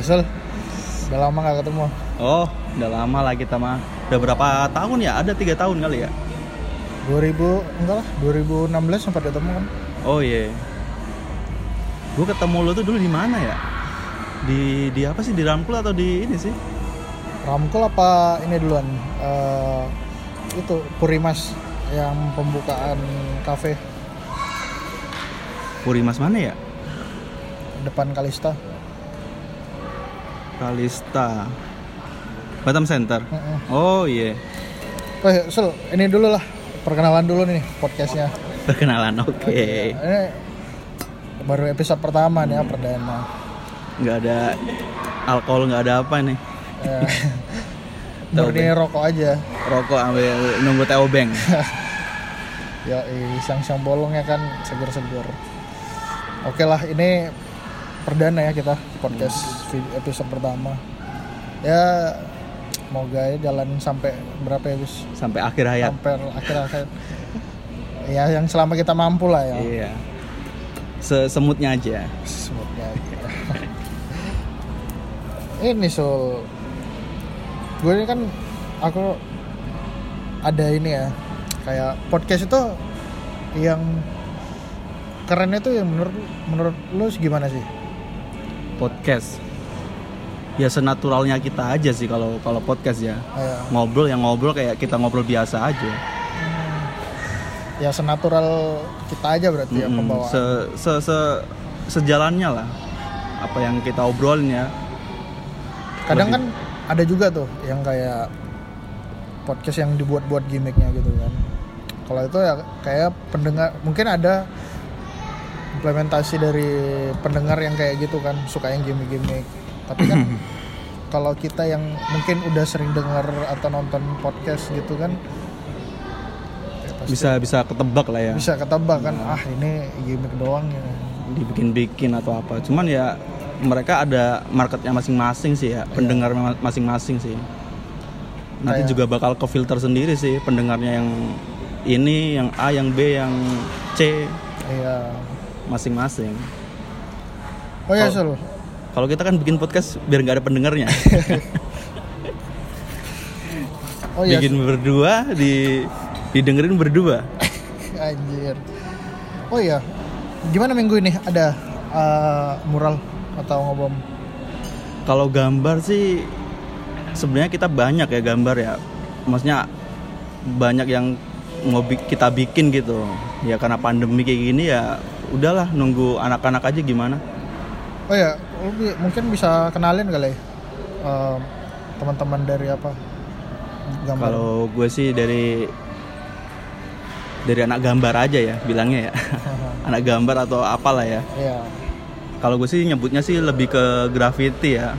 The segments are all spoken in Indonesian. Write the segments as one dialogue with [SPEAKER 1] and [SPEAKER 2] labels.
[SPEAKER 1] Sel. Udah lama gak ketemu.
[SPEAKER 2] Oh, udah lama lah kita mah. Udah berapa tahun ya? Ada tiga tahun kali ya?
[SPEAKER 1] 2000 enggak lah, 2016 sempat ketemu kan.
[SPEAKER 2] Oh iya. Gue ketemu lo tuh dulu di mana ya? Di di apa sih? Di Rangkul atau di ini sih?
[SPEAKER 1] Ramkul apa ini duluan? Eh, itu Purimas yang pembukaan kafe
[SPEAKER 2] Purimas mana ya?
[SPEAKER 1] depan Kalista.
[SPEAKER 2] Kalista. Batam Center.
[SPEAKER 1] Heeh.
[SPEAKER 2] Oh iya.
[SPEAKER 1] Eh, Sel, ini dulu lah perkenalan dulu nih podcastnya.
[SPEAKER 2] Perkenalan oke.
[SPEAKER 1] Ini baru episode pertama nih ya, perdana.
[SPEAKER 2] Nggak ada alkohol, nggak ada apa nih.
[SPEAKER 1] Eh, baru nih rokok aja.
[SPEAKER 2] Rokok ambil nunggu Teo Beng.
[SPEAKER 1] Ya, siang-siang bolong ya kan seger-seger. Oke lah, ini perdana ya kita podcast vi- episode pertama. Ya, semoga ya jalan sampai berapa ya, Gus?
[SPEAKER 2] Sampai akhir hayat.
[SPEAKER 1] Sampai akhir-akhir. ya, yang selama kita mampu lah ya.
[SPEAKER 2] Iya. Sesemutnya aja.
[SPEAKER 1] Semoga. ini Sul. Gue ini kan aku ada ini ya. Kayak podcast itu yang kerennya tuh yang menurut menurut lu gimana sih?
[SPEAKER 2] podcast ya senaturalnya kita aja sih kalau kalau podcast ya
[SPEAKER 1] Kayak
[SPEAKER 2] ngobrol yang ngobrol kayak kita ngobrol biasa aja
[SPEAKER 1] ya senatural kita aja berarti ya
[SPEAKER 2] Mm-mm.
[SPEAKER 1] pembawaan.
[SPEAKER 2] se, se, se- sejalannya lah apa yang kita obrolin ya
[SPEAKER 1] Kadang
[SPEAKER 2] lebih-
[SPEAKER 1] kan ada juga tuh yang kayak podcast yang dibuat-buat gimmicknya gitu kan. Kalau itu ya kayak pendengar mungkin ada implementasi dari pendengar yang kayak gitu kan suka yang gimmick-gimmick. Tapi kan kalau kita yang mungkin udah sering dengar atau nonton podcast gitu kan ya pasti
[SPEAKER 2] bisa bisa ketebak lah ya
[SPEAKER 1] bisa ketebak kan ah ini gimmick doang ya.
[SPEAKER 2] dibikin-bikin atau apa cuman ya mereka ada marketnya masing-masing sih
[SPEAKER 1] Iya.
[SPEAKER 2] ya pendengar ma- masing-masing sih nanti
[SPEAKER 1] Kayak-
[SPEAKER 2] juga bakal ke filter sendiri sih pendengarnya yang ini yang A yang B yang C
[SPEAKER 1] Iya.
[SPEAKER 2] masing-masing
[SPEAKER 1] Oh ya, Sul.
[SPEAKER 2] Kalau- Kalau kita kan bikin podcast biar nggak ada pendengarnya.
[SPEAKER 1] Oh iya,
[SPEAKER 2] bikin berdua di didengerin berdua.
[SPEAKER 1] Anjir. Oh iya, gimana minggu ini ada eh, mural atau ngobom?
[SPEAKER 2] Kalau gambar sih sebenarnya kita banyak ya gambar ya. Maksudnya banyak yang mau bi- kita bikin gitu. Ya karena pandemi kayak gini ya udahlah nunggu anak-anak aja gimana.
[SPEAKER 1] Oh iya, lu bi- mungkin bisa kenalin kali ya, eh, teman-teman dari apa? Gambar.
[SPEAKER 2] Kalau gue sih dari dari anak gambar aja ya bilangnya ya. anak gambar atau apalah ya.
[SPEAKER 1] Iya.
[SPEAKER 2] Kalau gue sih nyebutnya sih lebih ke graffiti ya.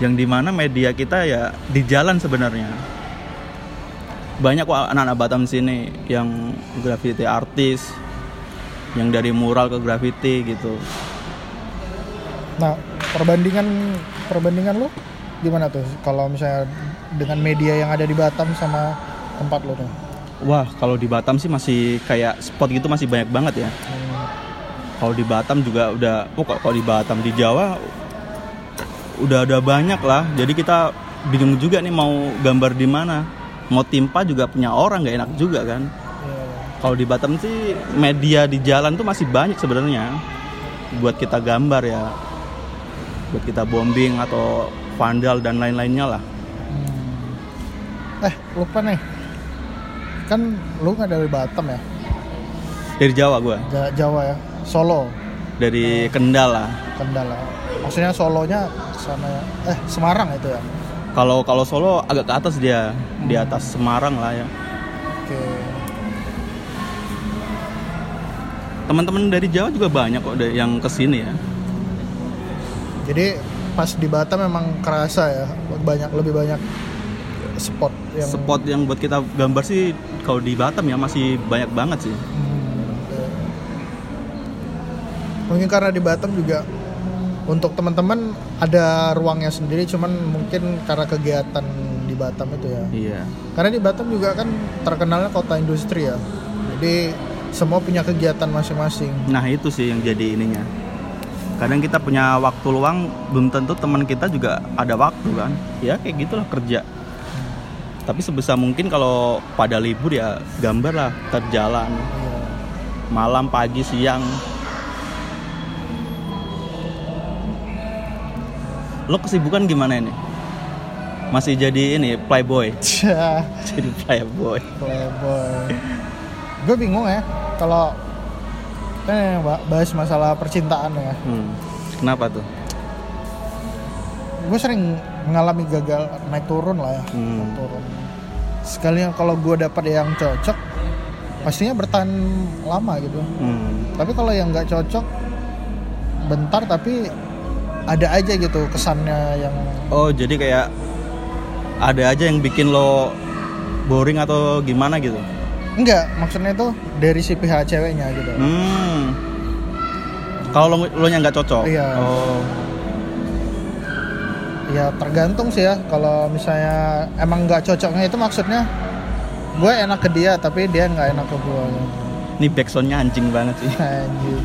[SPEAKER 2] Yang dimana media kita ya di jalan sebenarnya. Banyak kok anak-anak Batam sini yang graffiti artis, yang dari mural ke graffiti gitu.
[SPEAKER 1] Nah, perbandingan perbandingan lu gimana tuh? Kalau misalnya dengan media yang ada di Batam sama tempat lu tuh?
[SPEAKER 2] Wah, kalau di Batam sih masih kayak spot gitu masih banyak banget ya.
[SPEAKER 1] Hmm,
[SPEAKER 2] Kalau di Batam juga udah, oh kok- kalau di Batam di Jawa udah ada banyak lah. Jadi kita bingung juga nih mau gambar di mana. Mau timpa juga punya orang nggak enak juga kan.
[SPEAKER 1] iya.
[SPEAKER 2] Kalau di Batam sih media di jalan tuh masih banyak sebenarnya buat kita gambar ya, buat kita bombing atau vandal dan lain-lainnya lah.
[SPEAKER 1] Hmm. Eh, lupa nih. Kan lu nggak dari Batam ya?
[SPEAKER 2] Dari Jawa gue,
[SPEAKER 1] Ja- Jawa ya? Solo.
[SPEAKER 2] dari Kendal lah.
[SPEAKER 1] Kendala. Maksudnya solonya sana eh Semarang itu ya.
[SPEAKER 2] Kalau kalau Solo agak ke atas dia, di atas Semarang lah ya.
[SPEAKER 1] Oke.
[SPEAKER 2] Teman-teman dari Jawa juga banyak kok da- yang kesini ya.
[SPEAKER 1] Jadi pas di Batam memang kerasa ya banyak lebih banyak spot yang
[SPEAKER 2] Spot yang buat kita gambar sih kalau di Batam ya masih banyak banget sih.
[SPEAKER 1] Hmm, oke. Mungkin karena di Batam juga untuk teman-teman ada ruangnya sendiri cuman mungkin karena kegiatan di Batam itu ya.
[SPEAKER 2] Iya.
[SPEAKER 1] Karena di Batam juga kan terkenalnya kota industri ya. Jadi semua punya kegiatan masing-masing.
[SPEAKER 2] Nah itu sih yang jadi ininya. kadang kita punya waktu luang belum tentu teman kita juga ada waktu kan ya kayak gitulah kerja tapi sebisa mungkin kalau pada libur ya gambar lah terjalan
[SPEAKER 1] Iya.
[SPEAKER 2] malam pagi siang lo kesibukan gimana ini masih jadi ini playboy
[SPEAKER 1] Cah,
[SPEAKER 2] jadi playboy
[SPEAKER 1] playboy. Gue bingung ya kalau kan yang ba- bahas masalah percintaan ya.
[SPEAKER 2] hmm. kenapa tuh
[SPEAKER 1] Gue sering mengalami gagal naik turun lah ya.
[SPEAKER 2] Hmm.
[SPEAKER 1] naik turun. Sekali yang kalau gue dapat yang cocok, pastinya bertahan lama gitu.
[SPEAKER 2] hmm.
[SPEAKER 1] Tapi kalau yang nggak cocok, bentar tapi ada aja gitu kesannya yang
[SPEAKER 2] oh jadi kayak ada aja yang bikin lo boring atau gimana gitu
[SPEAKER 1] enggak maksudnya itu dari si pihak ceweknya gitu.
[SPEAKER 2] hmm. kalau lo lo nya nggak cocok
[SPEAKER 1] Iya.
[SPEAKER 2] oh
[SPEAKER 1] Ya tergantung sih ya kalau misalnya emang nggak cocoknya itu maksudnya gue enak ke dia tapi dia nggak enak ke gue.
[SPEAKER 2] ini backsoundnya anjing banget sih
[SPEAKER 1] Anjir.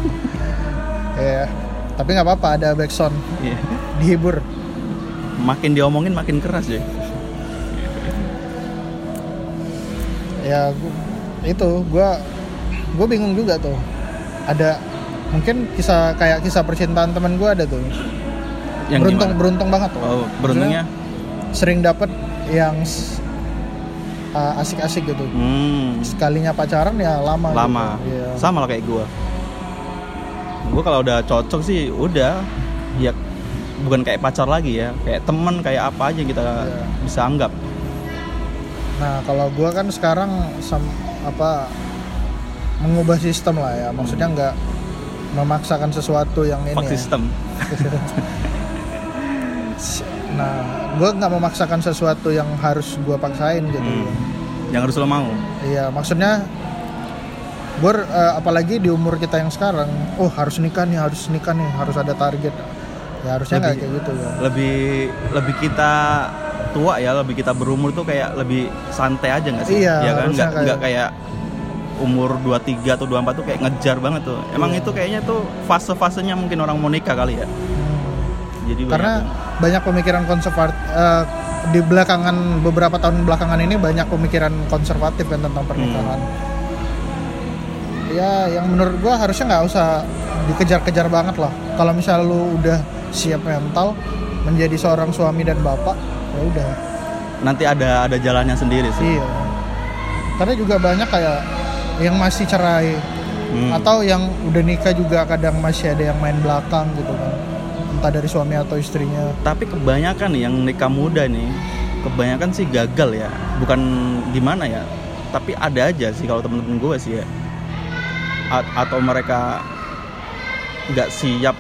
[SPEAKER 1] ya tapi nggak apa-apa ada backsound
[SPEAKER 2] Iya.
[SPEAKER 1] dihibur.
[SPEAKER 2] makin diomongin makin keras ya
[SPEAKER 1] Ya gu- itu gue gue bingung juga tuh ada mungkin kisah kayak kisah percintaan teman gue ada tuh
[SPEAKER 2] yang
[SPEAKER 1] beruntung Iya.
[SPEAKER 2] gimana?
[SPEAKER 1] beruntung banget tuh.
[SPEAKER 2] oh beruntungnya
[SPEAKER 1] Maksudnya sering dapet yang s- uh, asik-asik gitu.
[SPEAKER 2] hmm,
[SPEAKER 1] Sekalinya pacaran ya lama.
[SPEAKER 2] lama
[SPEAKER 1] Gitu. Iya.
[SPEAKER 2] sama lah kayak gua gua kalau udah cocok sih udah ya bukan kayak pacar lagi ya kayak temen kayak apa aja kita
[SPEAKER 1] Iya.
[SPEAKER 2] bisa anggap
[SPEAKER 1] Nah kalau gua kan sekarang sam- apa mengubah sistem lah ya, maksudnya
[SPEAKER 2] Hmm.
[SPEAKER 1] nggak memaksakan sesuatu yang ini.
[SPEAKER 2] fuck
[SPEAKER 1] ya.
[SPEAKER 2] system
[SPEAKER 1] Nah gua nggak memaksakan sesuatu yang harus gua paksain gitu.
[SPEAKER 2] Hmm. yang harus lo mau
[SPEAKER 1] Iya maksudnya gue apalagi di umur kita yang sekarang, oh harus nikah nih, harus nikah nih, harus ada target. Ya harusnya nggak
[SPEAKER 2] Lebih-
[SPEAKER 1] kayak gitu ya.
[SPEAKER 2] lebih lebih kita tua ya lebih kita berumur tuh kayak lebih santai aja nggak sih
[SPEAKER 1] Iya,
[SPEAKER 2] ya kan
[SPEAKER 1] harusnya
[SPEAKER 2] nggak
[SPEAKER 1] kayak-
[SPEAKER 2] nggak kayak umur 23 atau 24 tuh kayak ngejar banget tuh emang
[SPEAKER 1] Iya.
[SPEAKER 2] itu kayaknya tuh fase-fasenya mungkin orang mau nikah kali ya
[SPEAKER 1] Hmm.
[SPEAKER 2] jadi
[SPEAKER 1] Karena banyak pemikiran konservatif di belakangan beberapa tahun belakangan ini banyak pemikiran konservatif kan tentang pernikahan. Ya, yang menurut gua harusnya nggak usah dikejar-kejar banget lah. Kalau misalnya lu udah siap mental menjadi seorang suami dan bapak, ya udah.
[SPEAKER 2] nanti ada ada jalannya sendiri sih
[SPEAKER 1] Iya. Karena juga banyak kayak yang masih cerai
[SPEAKER 2] Hmm.
[SPEAKER 1] atau yang udah nikah juga kadang masih ada yang main belakang gitu kan. Entah dari suami atau istrinya.
[SPEAKER 2] tapi kebanyakan nih yang nikah muda nih kebanyakan sih gagal ya bukan gimana ya tapi ada aja sih kalau temen-temen gue sih ya A- atau mereka nggak siap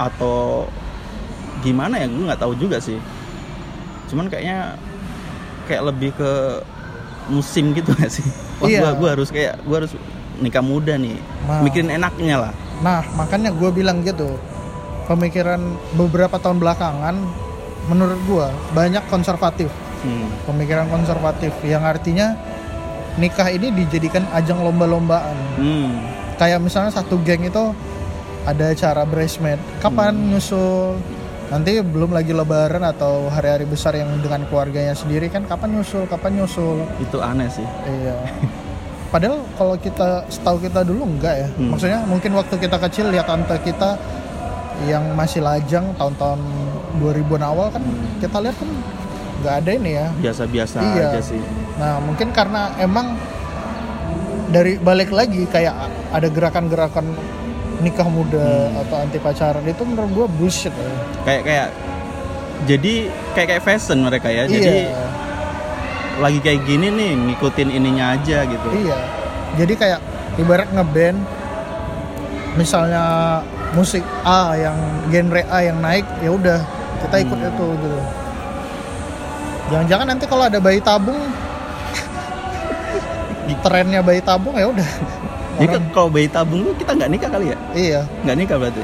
[SPEAKER 2] atau gimana ya gue nggak tahu juga sih cuman kayaknya kayak lebih ke musim gitu gak sih wah
[SPEAKER 1] Iya.
[SPEAKER 2] gua gua harus kayak gua harus nikah muda nih
[SPEAKER 1] Nah.
[SPEAKER 2] mikirin enaknya lah
[SPEAKER 1] Nah, makanya gue bilang gitu. Pemikiran beberapa tahun belakangan, menurut gue banyak konservatif.
[SPEAKER 2] Hmm.
[SPEAKER 1] Pemikiran konservatif yang artinya nikah ini dijadikan ajang lomba-lombaan.
[SPEAKER 2] Hmm.
[SPEAKER 1] Kayak misalnya satu geng itu ada acara bridesmaid, kapan nyusul? Nanti belum lagi lebaran atau hari-hari besar yang dengan keluarganya sendiri kan kapan nyusul, kapan nyusul.
[SPEAKER 2] itu aneh sih
[SPEAKER 1] Iya. Padahal kalau kita setahu kita dulu enggak ya.
[SPEAKER 2] Hmm.
[SPEAKER 1] Maksudnya mungkin waktu kita kecil lihat tante kita yang masih lajang tahun-tahun 2000-an awal kan kita lihat kan nggak ada ini ya.
[SPEAKER 2] biasa-biasa
[SPEAKER 1] Iya.
[SPEAKER 2] aja sih
[SPEAKER 1] Nah, mungkin karena emang dari balik lagi kayak ada gerakan-gerakan nikah muda
[SPEAKER 2] Hmm.
[SPEAKER 1] atau anti pacaran itu menurut gua bullshit. ya.
[SPEAKER 2] kayak kayak jadi kayak kayak fashion mereka ya jadi
[SPEAKER 1] Iya.
[SPEAKER 2] lagi kayak gini nih ngikutin ininya aja gitu
[SPEAKER 1] Iya. Jadi kayak ibarat ngeband misalnya musik A yang genre A yang naik ya udah kita ikut itu gitu. Jangan-jangan nanti kalau ada bayi tabung trennya bayi tabung ya udah.
[SPEAKER 2] jadi
[SPEAKER 1] Orang-
[SPEAKER 2] kalau bayi tabung tuh kita nggak nikah kali ya
[SPEAKER 1] iya,
[SPEAKER 2] nggak nikah berarti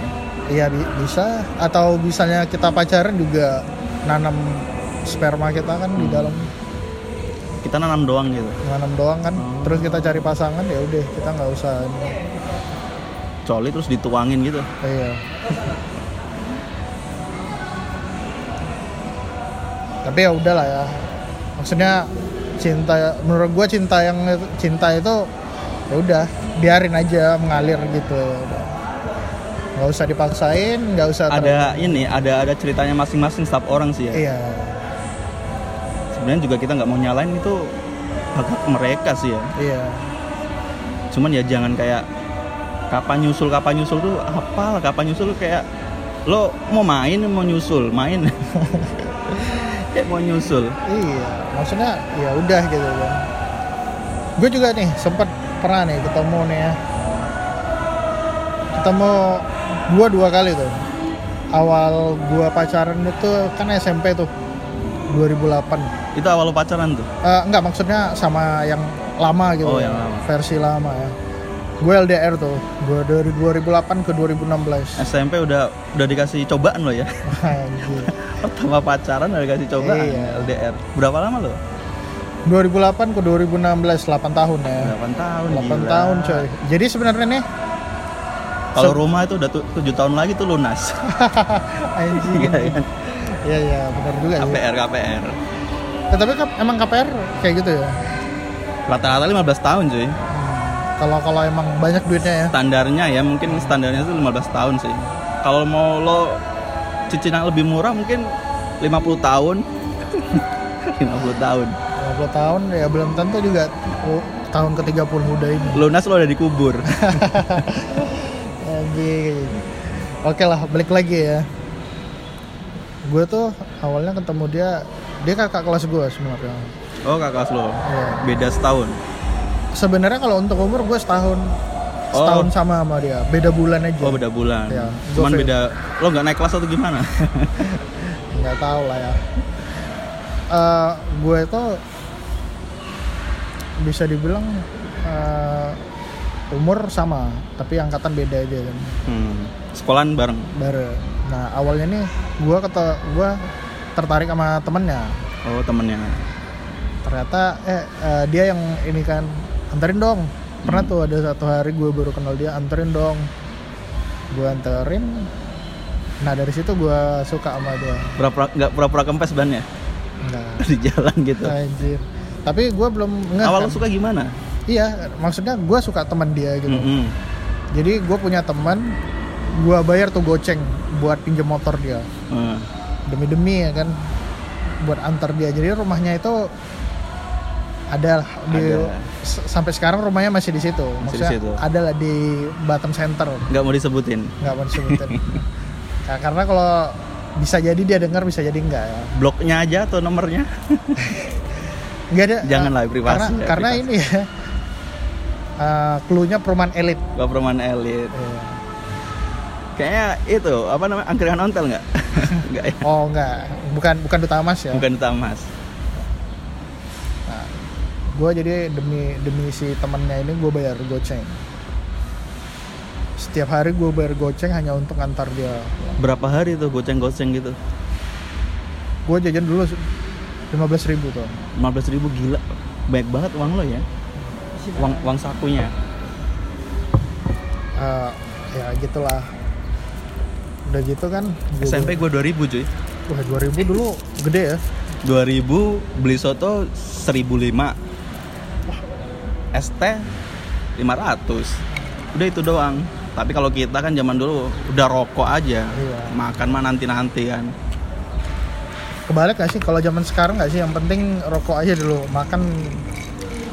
[SPEAKER 1] iya bi- bisa atau misalnya kita pacaran juga nanam sperma kita kan di dalam
[SPEAKER 2] kita nanam doang gitu
[SPEAKER 1] nanam doang kan.
[SPEAKER 2] Hmm.
[SPEAKER 1] Terus kita cari pasangan ya udah kita nggak usah ini.
[SPEAKER 2] coli terus dituangin gitu
[SPEAKER 1] iya tapi ya udahlah ya maksudnya cinta menurut gue cinta yang cinta itu ya udah biarin aja mengalir gitu nggak usah dipaksain nggak usah ter-
[SPEAKER 2] ada ini ada ada ceritanya masing-masing setiap orang sih ya
[SPEAKER 1] iya
[SPEAKER 2] sebenarnya juga kita nggak mau nyalain itu hak hak mereka sih ya
[SPEAKER 1] iya
[SPEAKER 2] cuman ya jangan kayak kapan nyusul kapan nyusul tuh apa kapan nyusul kayak lo mau main mau nyusul main kayak mau nyusul
[SPEAKER 1] iya maksudnya ya udah gitu kan gue juga nih sempet pernah nih ketemu nih ya ketemu gua dua kali tuh awal gua pacaran itu kan SMP tuh 2008
[SPEAKER 2] itu awal lo pacaran tuh
[SPEAKER 1] Eh, enggak maksudnya sama yang lama gitu
[SPEAKER 2] Oh,
[SPEAKER 1] ya.
[SPEAKER 2] yang lama.
[SPEAKER 1] versi lama ya gue LDR tuh gue dari 2008 ke 2016
[SPEAKER 2] SMP udah udah dikasih cobaan lo ya
[SPEAKER 1] Anjir.
[SPEAKER 2] pertama pacaran udah dikasih cobaan
[SPEAKER 1] Iya.
[SPEAKER 2] LDR berapa lama lo
[SPEAKER 1] 2008 ke 2016 8 tahun ya
[SPEAKER 2] 8 tahun
[SPEAKER 1] 8
[SPEAKER 2] gila.
[SPEAKER 1] tahun coy jadi sebenarnya nih
[SPEAKER 2] kalau rumah itu udah 7 tahun lagi tuh lunas
[SPEAKER 1] anjing
[SPEAKER 2] Iya, iya.
[SPEAKER 1] iya iya benar juga sih
[SPEAKER 2] KPR KPR
[SPEAKER 1] Eh, tapi kap- emang KPR kayak gitu ya
[SPEAKER 2] rata-rata 15 tahun cuy
[SPEAKER 1] Hmm, kalau kalau emang banyak duitnya ya
[SPEAKER 2] standarnya ya mungkin standarnya itu 15 tahun sih kalau mau lo cicilan lebih murah mungkin 50 tahun 50 tahun
[SPEAKER 1] 20 tahun ya belum tentu juga oh, tahun ke 30 udah ini
[SPEAKER 2] lunas lo udah dikubur
[SPEAKER 1] Anjing. Oke lah, balik lagi ya. Gue tuh awalnya ketemu dia, dia kakak kelas gue sebenarnya.
[SPEAKER 2] oh kakak kelas lo
[SPEAKER 1] Iya.
[SPEAKER 2] beda setahun
[SPEAKER 1] Sebenarnya kalau untuk umur gue setahun,
[SPEAKER 2] Oh.
[SPEAKER 1] setahun sama sama dia, beda bulan aja.
[SPEAKER 2] oh beda bulan
[SPEAKER 1] Iya.
[SPEAKER 2] cuman
[SPEAKER 1] Gua-
[SPEAKER 2] beda lo nggak naik kelas atau gimana
[SPEAKER 1] Nggak tahu lah ya. Eh, gue tuh bisa dibilang eh, umur sama, tapi angkatan beda aja kan.
[SPEAKER 2] hmm. sekolahan bareng
[SPEAKER 1] Bareng. Nah awalnya nih, gue kata gue tertarik sama temennya.
[SPEAKER 2] oh temennya
[SPEAKER 1] ternyata eh, eh, dia yang ini kan anterin dong pernah tuh ada satu hari gue baru kenal dia anterin dong gue anterin nah dari situ gue suka sama dia
[SPEAKER 2] pura-pura nggak pura-pura kempes bannya
[SPEAKER 1] nah
[SPEAKER 2] di jalan gitu
[SPEAKER 1] anjir tapi gue belum ngeh Nah,
[SPEAKER 2] awal lo
[SPEAKER 1] kan.
[SPEAKER 2] suka gimana
[SPEAKER 1] iya maksudnya gue suka teman dia gitu
[SPEAKER 2] Mm-mm.
[SPEAKER 1] jadi gue punya teman gue bayar tuh goceng buat pinjem motor dia
[SPEAKER 2] Hmm.
[SPEAKER 1] demi demi ya kan buat antar dia jadi rumahnya itu ada lah di
[SPEAKER 2] Ada.
[SPEAKER 1] s- sampai sekarang rumahnya masih di situ
[SPEAKER 2] Masih di
[SPEAKER 1] maksudnya
[SPEAKER 2] situ.
[SPEAKER 1] ada lah di Batam Center
[SPEAKER 2] nggak mau disebutin
[SPEAKER 1] nggak mau disebutin Nah, karena kalau bisa jadi dia dengar bisa jadi enggak ya
[SPEAKER 2] bloknya aja atau nomornya
[SPEAKER 1] nggak ada
[SPEAKER 2] Janganlah,
[SPEAKER 1] eh,
[SPEAKER 2] privasi
[SPEAKER 1] karena,
[SPEAKER 2] ya,
[SPEAKER 1] karena
[SPEAKER 2] privasi.
[SPEAKER 1] ini ya eh, clue-nya perumahan elit
[SPEAKER 2] Gak perumahan elit
[SPEAKER 1] Iya.
[SPEAKER 2] Kayaknya itu, apa namanya, angkringan ontel nggak? nggak ya?
[SPEAKER 1] oh enggak bukan bukan duta mas ya
[SPEAKER 2] Bukan duta emas
[SPEAKER 1] gue jadi demi demi si temennya ini gue bayar goceng setiap hari gue bayar goceng hanya untuk antar dia
[SPEAKER 2] Berapa hari tuh goceng-goceng gitu?
[SPEAKER 1] gue jajan dulu 15.000 ribu tuh
[SPEAKER 2] 15 ribu gila, banyak banget uang lo
[SPEAKER 1] Iya.
[SPEAKER 2] ya Uang, uang sakunya
[SPEAKER 1] Eh, ya gitulah udah gitu kan gua-
[SPEAKER 2] SMP gue 2000 cuy
[SPEAKER 1] wah 2000 dulu gede ya
[SPEAKER 2] 2000 beli soto 1005 ST 500 Udah itu doang Tapi kalau kita kan zaman dulu udah rokok aja
[SPEAKER 1] Iya.
[SPEAKER 2] Makan mah nanti-nanti kan
[SPEAKER 1] kebalik gak sih kalau zaman sekarang gak sih yang penting rokok aja dulu makan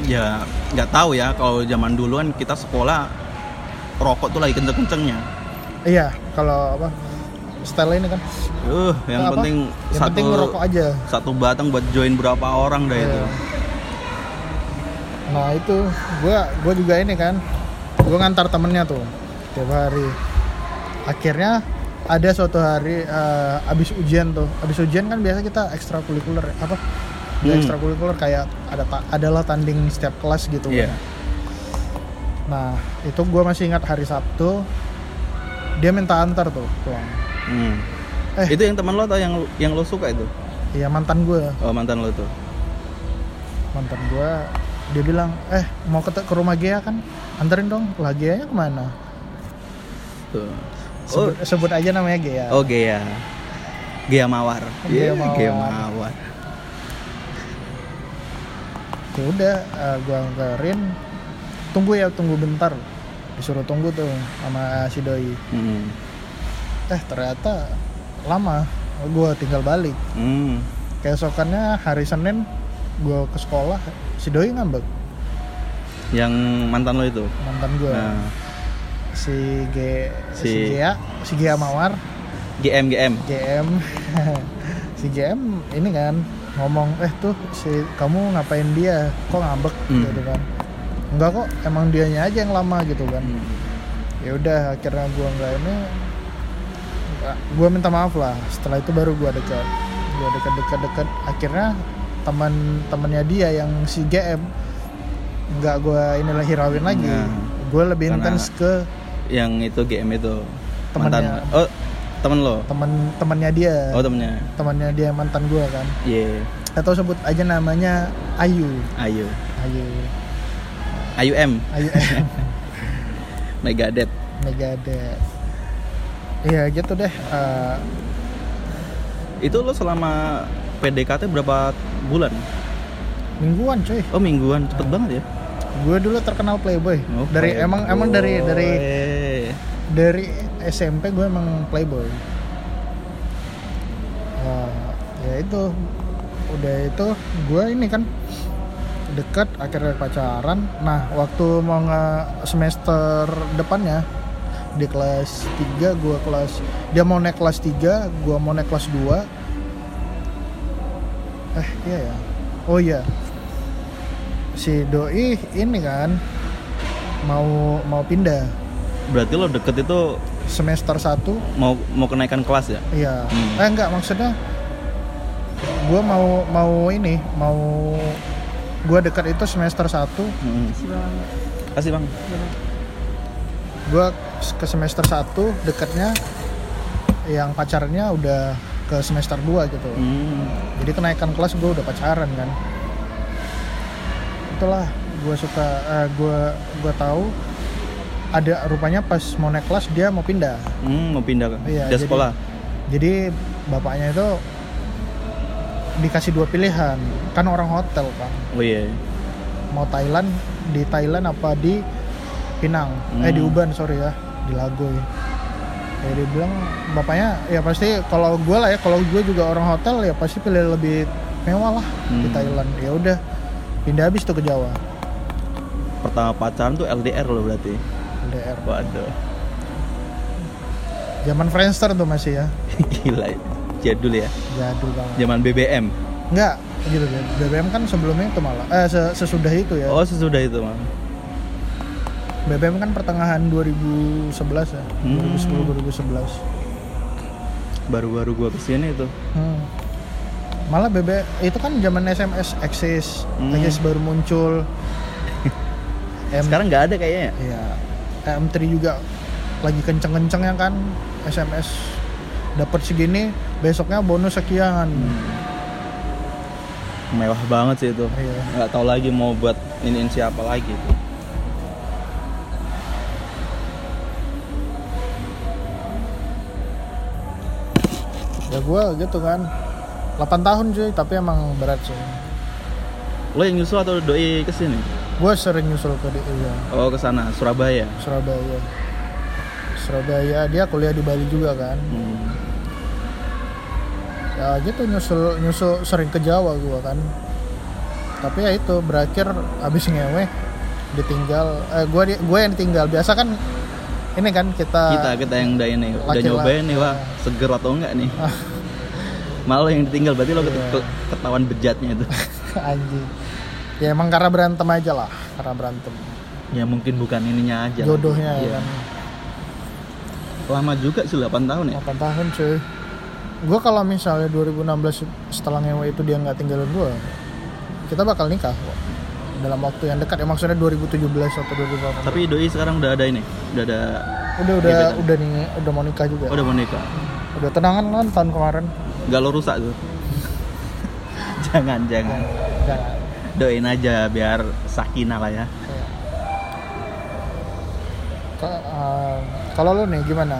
[SPEAKER 2] ya nggak tahu ya kalau zaman dulu kan kita sekolah rokok tuh lagi kenceng-kencengnya
[SPEAKER 1] iya kalau apa style ini kan
[SPEAKER 2] uh yang
[SPEAKER 1] Apa?
[SPEAKER 2] penting
[SPEAKER 1] yang
[SPEAKER 2] satu
[SPEAKER 1] penting ngerokok aja
[SPEAKER 2] satu batang buat join berapa orang dah itu
[SPEAKER 1] Iya. Nah itu, gue gua juga ini kan, gue ngantar temennya tuh tiap hari. Akhirnya ada suatu hari eh, abis ujian tuh, abis ujian kan biasa kita ekstrakurikuler ya, apa? Ada
[SPEAKER 2] Hmm.
[SPEAKER 1] Ekstrakurikuler kayak ada ta- adalah tanding setiap kelas gitu. kan.
[SPEAKER 2] Iya.
[SPEAKER 1] Nah itu gue masih ingat hari Sabtu, dia minta antar tuh pulang.
[SPEAKER 2] Hmm.
[SPEAKER 1] Eh.
[SPEAKER 2] itu yang teman lo atau yang yang lo suka itu
[SPEAKER 1] Iya mantan gue,
[SPEAKER 2] oh, mantan lo tuh
[SPEAKER 1] mantan gue. Dia bilang, eh mau ke, ke rumah Gia kan? Anterin dong, lah Gia kemana?
[SPEAKER 2] Betul.
[SPEAKER 1] sebut,
[SPEAKER 2] Oh,
[SPEAKER 1] sebut aja namanya Gea
[SPEAKER 2] oh Gea. Gea Mawar.
[SPEAKER 1] Iya, Gea Mawar.
[SPEAKER 2] Gea Mawar.
[SPEAKER 1] Ya udah eh, gua anterin tunggu ya tunggu bentar disuruh tunggu tuh sama si doi
[SPEAKER 2] Hmm.
[SPEAKER 1] eh ternyata lama gua tinggal balik
[SPEAKER 2] Hmm.
[SPEAKER 1] keesokannya hari Senin gua ke sekolah si doi ngambek
[SPEAKER 2] Yang mantan lo itu.
[SPEAKER 1] mantan gua
[SPEAKER 2] Nah,
[SPEAKER 1] si G si,
[SPEAKER 2] Si-
[SPEAKER 1] Gea si Gea Mawar
[SPEAKER 2] GM GM.
[SPEAKER 1] GM si GM ini kan ngomong eh tuh si kamu ngapain dia kok ngambek
[SPEAKER 2] Hmm.
[SPEAKER 1] gitu kan enggak kok emang dianya aja yang lama gitu kan
[SPEAKER 2] Hmm.
[SPEAKER 1] ya udah akhirnya gua nggak ini gua minta maaf lah setelah itu baru gua dekat gua dekat dekat dekat akhirnya teman temannya dia yang si GM nggak gua inilah hirauin lagi
[SPEAKER 2] Nah.
[SPEAKER 1] gua lebih
[SPEAKER 2] Karena-
[SPEAKER 1] intens ke
[SPEAKER 2] Yang itu GM itu.
[SPEAKER 1] Temennya.
[SPEAKER 2] Mantan. Oh, temen lo.
[SPEAKER 1] teman temannya dia
[SPEAKER 2] Oh, temennya.
[SPEAKER 1] temannya dia yang mantan gua kan
[SPEAKER 2] Iya.
[SPEAKER 1] atau sebut aja namanya Ayu
[SPEAKER 2] Ayu.
[SPEAKER 1] Ayu
[SPEAKER 2] Ayu M.
[SPEAKER 1] Ayu eh, M
[SPEAKER 2] Megadeth.
[SPEAKER 1] Megadeth Iya gitu deh Eh,
[SPEAKER 2] Itu lo selama PDKT berapa bulan?
[SPEAKER 1] mingguan cuy
[SPEAKER 2] Oh, mingguan. Cepet banget ya.
[SPEAKER 1] gue dulu terkenal playboy
[SPEAKER 2] Oh,
[SPEAKER 1] dari emang emang dari dari
[SPEAKER 2] playboy.
[SPEAKER 1] dari SMP gue emang playboy Wah, ya itu udah itu gue ini kan dekat akhirnya pacaran nah waktu mau nge semester depannya di kelas 3 gue kelas dia mau naik kelas 3 gue mau naik kelas 2 eh iya ya oh iya si doi ini kan mau mau pindah
[SPEAKER 2] Berarti lo deket itu
[SPEAKER 1] semester 1
[SPEAKER 2] mau mau kenaikan kelas ya?
[SPEAKER 1] Iya.
[SPEAKER 2] Hmm.
[SPEAKER 1] Eh enggak maksudnya gua mau mau ini, mau gua dekat itu semester 1,
[SPEAKER 2] Hmm. Kasih bang.
[SPEAKER 1] gua ke semester 1 dekatnya yang pacarnya udah ke semester 2 gitu.
[SPEAKER 2] Hmm.
[SPEAKER 1] Jadi kenaikan kelas gua udah pacaran kan. Itulah gua suka eh, gua gua tahu ada rupanya pas mau naik kelas dia mau pindah.
[SPEAKER 2] Hmm, mau pindah ke
[SPEAKER 1] Iya,
[SPEAKER 2] pindah
[SPEAKER 1] jadi-
[SPEAKER 2] sekolah.
[SPEAKER 1] Jadi bapaknya itu dikasih dua pilihan. Kan orang hotel kan.
[SPEAKER 2] Oh iya.
[SPEAKER 1] mau Thailand di Thailand apa di Pinang eh
[SPEAKER 2] Hmm.
[SPEAKER 1] di Uban sorry ya di Lagoy ya dia bilang bapaknya ya pasti kalau gue lah ya kalau gue juga orang hotel ya pasti pilih lebih mewah lah di
[SPEAKER 2] Hmm.
[SPEAKER 1] Thailand ya udah pindah habis tuh ke Jawa
[SPEAKER 2] Pertama pacaran tuh LDR lo berarti.
[SPEAKER 1] LDR
[SPEAKER 2] Waduh.
[SPEAKER 1] zaman Friendster tuh masih ya
[SPEAKER 2] Gila. ya. Jadul ya.
[SPEAKER 1] jadul banget
[SPEAKER 2] Zaman BBM.
[SPEAKER 1] enggak gitu kan BBM kan sebelumnya itu malah eh se- sesudah itu ya
[SPEAKER 2] Oh sesudah itu mah.
[SPEAKER 1] BBM kan pertengahan 2011 ya
[SPEAKER 2] Hmm.
[SPEAKER 1] 2010 2011
[SPEAKER 2] Baru-baru gua kesini itu.
[SPEAKER 1] Hmm. Malah BB itu kan zaman SMS eksis,
[SPEAKER 2] Hmm.
[SPEAKER 1] Axis baru muncul. M
[SPEAKER 2] Sekarang nggak ada kayaknya. ya?
[SPEAKER 1] ya M3 juga lagi kenceng-kencengnya kan SMS dapat segini, besoknya bonus sekian.
[SPEAKER 2] Hmm. Mewah banget sih itu.
[SPEAKER 1] Iya.
[SPEAKER 2] Nggak tahu lagi mau buat ini siapa lagi.
[SPEAKER 1] Ya gua gitu kan. 8 tahun cuy, tapi emang berat sih.
[SPEAKER 2] Lo yang nyusul atau doi kesini?
[SPEAKER 1] Gua sering nyusul ke dia, iya,
[SPEAKER 2] Oh ke sana Surabaya.
[SPEAKER 1] Surabaya. Surabaya dia kuliah di Bali juga kan.
[SPEAKER 2] Hmm.
[SPEAKER 1] ya gitu nyusul nyusul sering ke Jawa gua kan tapi ya itu berakhir abis ngewe ditinggal eh gua di, gua yang ditinggal biasa kan ini kan kita,
[SPEAKER 2] kita kita yang udah ini udah
[SPEAKER 1] laki-laki. Ah.
[SPEAKER 2] nyobain nih wah seger atau enggak nih malah lo yang ditinggal berarti lo ket-
[SPEAKER 1] Iya.
[SPEAKER 2] ke- ketahuan bejatnya itu
[SPEAKER 1] anjing ya emang karena berantem aja lah karena berantem
[SPEAKER 2] ya mungkin bukan ininya aja
[SPEAKER 1] jodohnya ya
[SPEAKER 2] Iya.
[SPEAKER 1] kan
[SPEAKER 2] lama juga sih 8 tahun ya
[SPEAKER 1] 8 tahun cuy gua kalau misalnya 2016 setelah ngewe itu dia nggak tinggalin gua kita bakal nikah kok. dalam waktu yang dekat ya maksudnya 2017 atau 2018
[SPEAKER 2] tapi doi sekarang udah ada ini udah ada
[SPEAKER 1] udah udah
[SPEAKER 2] gebetan.
[SPEAKER 1] udah nih udah mau nikah juga
[SPEAKER 2] oh, udah mau nikah
[SPEAKER 1] udah tenangan kan tahun kemarin
[SPEAKER 2] nggak lo rusak tuh jangan jangan
[SPEAKER 1] ya,
[SPEAKER 2] doain aja biar sakinah lah ya
[SPEAKER 1] Ke- eh, Kalau lo nih gimana?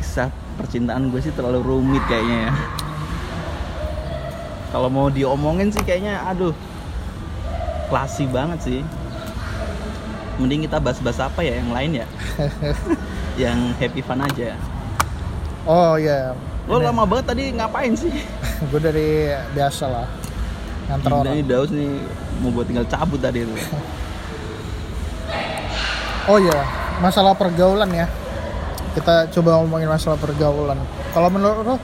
[SPEAKER 2] kisah percintaan gue sih terlalu rumit kayaknya ya kalau mau diomongin sih kayaknya aduh klasi banget sih mending kita bahas-bahas apa ya yang lain ya yang happy fun aja
[SPEAKER 1] Oh iya.
[SPEAKER 2] lo
[SPEAKER 1] Ini-
[SPEAKER 2] lama banget tadi ngapain sih
[SPEAKER 1] gue dari biasa lah. Nganter
[SPEAKER 2] Gila,
[SPEAKER 1] orang.
[SPEAKER 2] ini Daus nih mau gue tinggal cabut tadi itu
[SPEAKER 1] Oh iya, masalah pergaulan ya. Kita coba ngomongin masalah pergaulan. Kalau menurut lo,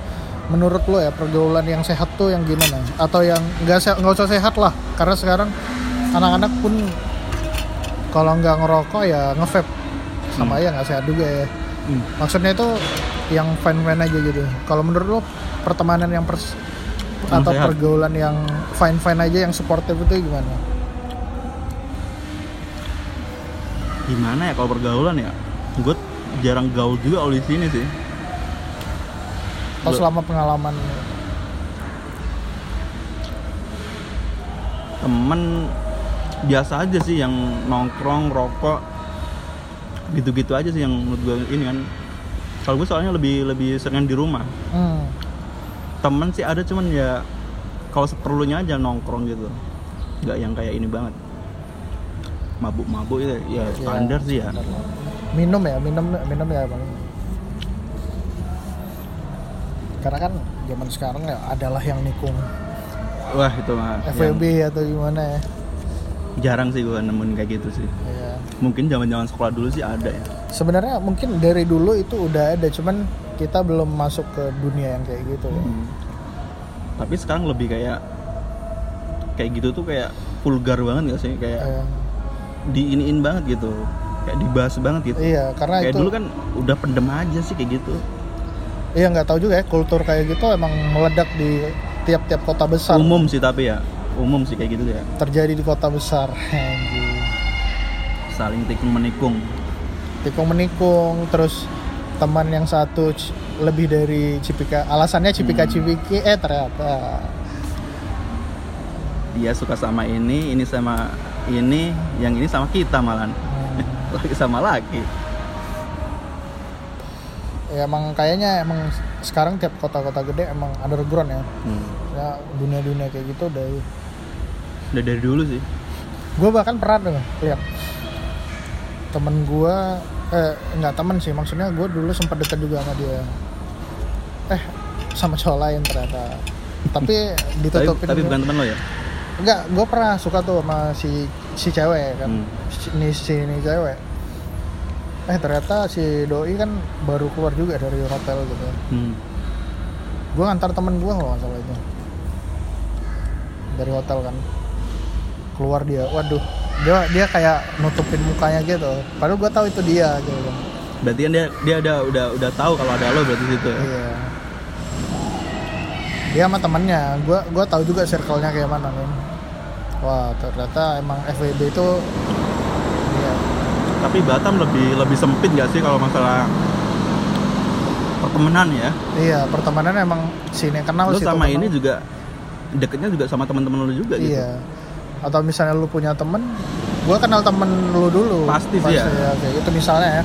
[SPEAKER 1] menurut lo ya pergaulan yang sehat tuh yang gimana? Atau yang nggak se- nggak usah sehat lah, karena sekarang anak-anak pun kalau nggak ngerokok ya ngevape sama ya nggak sehat juga ya.
[SPEAKER 2] Hmm.
[SPEAKER 1] Maksudnya itu yang fine-fine aja gitu. Kalau menurut lo pertemanan yang pers
[SPEAKER 2] Yang
[SPEAKER 1] atau
[SPEAKER 2] sehat.
[SPEAKER 1] pergaulan yang fine-fine aja yang supportive itu gimana?
[SPEAKER 2] gimana ya kalau pergaulan ya gue jarang gaul juga kalau di sini sih
[SPEAKER 1] Atau
[SPEAKER 2] Lo-
[SPEAKER 1] selama pengalaman
[SPEAKER 2] temen biasa aja sih yang nongkrong rokok gitu-gitu aja sih yang menurut gue ini kan kalau gue soalnya lebih lebih seringan di rumah
[SPEAKER 1] hmm,
[SPEAKER 2] temen sih ada cuman ya kalau seperlunya aja nongkrong gitu nggak yang kayak ini banget mabuk-mabuk ya, ya standar sih ya
[SPEAKER 1] minum ya minum minum ya paling karena kan zaman sekarang ya adalah yang nikung
[SPEAKER 2] wah itu mah yang
[SPEAKER 1] FWB atau gimana ya
[SPEAKER 2] jarang sih gue nemuin kayak gitu sih
[SPEAKER 1] Iya.
[SPEAKER 2] mungkin zaman-zaman sekolah dulu sih ada ya
[SPEAKER 1] sebenarnya mungkin dari dulu itu udah ada cuman kita belum masuk ke dunia yang kayak gitu ya.
[SPEAKER 2] Hmm. Tapi sekarang lebih kayak kayak gitu tuh kayak vulgar banget gak sih? Kayak
[SPEAKER 1] Eh,
[SPEAKER 2] diiniin banget gitu. Kayak dibahas banget gitu.
[SPEAKER 1] iya karena
[SPEAKER 2] kayak
[SPEAKER 1] itu
[SPEAKER 2] dulu kan udah pendem aja sih kayak gitu.
[SPEAKER 1] iya nggak tahu juga ya kultur kayak gitu emang meledak di tiap-tiap kota besar
[SPEAKER 2] Umum sih tapi ya. Umum sih kayak gitu ya.
[SPEAKER 1] terjadi di kota besar Anjing.
[SPEAKER 2] Saling tikung menikung.
[SPEAKER 1] tikung menikung terus teman yang satu c- lebih dari cipika alasannya
[SPEAKER 2] Hmm.
[SPEAKER 1] cipika cipiki eh ternyata
[SPEAKER 2] Dia suka sama ini, ini sama ini, yang ini sama kita malahan.
[SPEAKER 1] Hmm.
[SPEAKER 2] Laki sama laki.
[SPEAKER 1] ya emang kayaknya emang sekarang tiap kota-kota gede emang underground ya
[SPEAKER 2] Hmm.
[SPEAKER 1] ya dunia-dunia kayak gitu dari
[SPEAKER 2] Udah dari dulu sih.
[SPEAKER 1] gue bahkan pernah tuh lihat temen gue eh nggak temen sih maksudnya gue dulu sempat deket juga sama dia eh sama cowok lain ternyata tapi
[SPEAKER 2] Tapi,
[SPEAKER 1] ditutupin
[SPEAKER 2] tapi
[SPEAKER 1] dulu.
[SPEAKER 2] bukan teman lo ya?
[SPEAKER 1] Enggak, gue pernah suka tuh sama si si cewek kan,
[SPEAKER 2] Hmm.
[SPEAKER 1] si, ini si ini cewek. Eh ternyata si doi kan baru keluar juga dari hotel gitu.
[SPEAKER 2] Hmm.
[SPEAKER 1] Gue ngantar temen gue kalau nggak salah itu dari hotel kan. Keluar dia, waduh, dia dia kayak nutupin mukanya gitu. Padahal gue tahu itu dia gitu. kan.
[SPEAKER 2] Berarti kan dia dia ada udah udah tahu kalau ada lo berarti situ ya.
[SPEAKER 1] Iya. Dia sama temennya, gue gua tahu juga circle-nya kayak mana kan. Wah ternyata emang FWB itu iya,
[SPEAKER 2] tapi Batam lebih lebih sempit nggak sih kalau masalah pertemanan ya
[SPEAKER 1] Iya, pertemanan emang sini yang kenal
[SPEAKER 2] lu
[SPEAKER 1] sih
[SPEAKER 2] sama
[SPEAKER 1] temen
[SPEAKER 2] ini
[SPEAKER 1] lu.
[SPEAKER 2] juga deketnya juga sama teman-teman lu juga gitu
[SPEAKER 1] Iya. Atau misalnya lu punya temen, gua kenal temen lu dulu.
[SPEAKER 2] Pasti sih ya.
[SPEAKER 1] kayak gitu misalnya ya.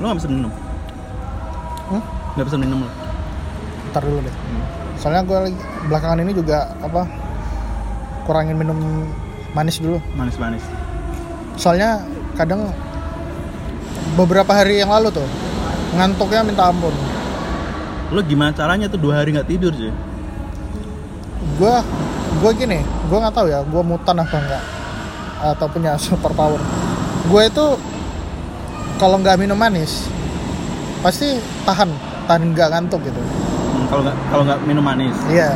[SPEAKER 2] lu nggak bisa minum
[SPEAKER 1] Hmm?
[SPEAKER 2] nggak bisa minum lu
[SPEAKER 1] Ntar dulu deh.
[SPEAKER 2] Hmm.
[SPEAKER 1] Soalnya gua lagi, belakangan ini juga apa kurangin minum manis dulu.
[SPEAKER 2] manis-manis
[SPEAKER 1] Soalnya kadang beberapa hari yang lalu tuh ngantuknya minta ampun.
[SPEAKER 2] lu gimana caranya tuh dua hari nggak tidur sih
[SPEAKER 1] Gua gua gini, gua nggak tahu ya, gua mutan apa enggak atau punya super power. Gua itu kalau nggak minum manis pasti tahan, tahan nggak ngantuk gitu.
[SPEAKER 2] Hmm, kalau nggak kalau nggak minum manis
[SPEAKER 1] Iya.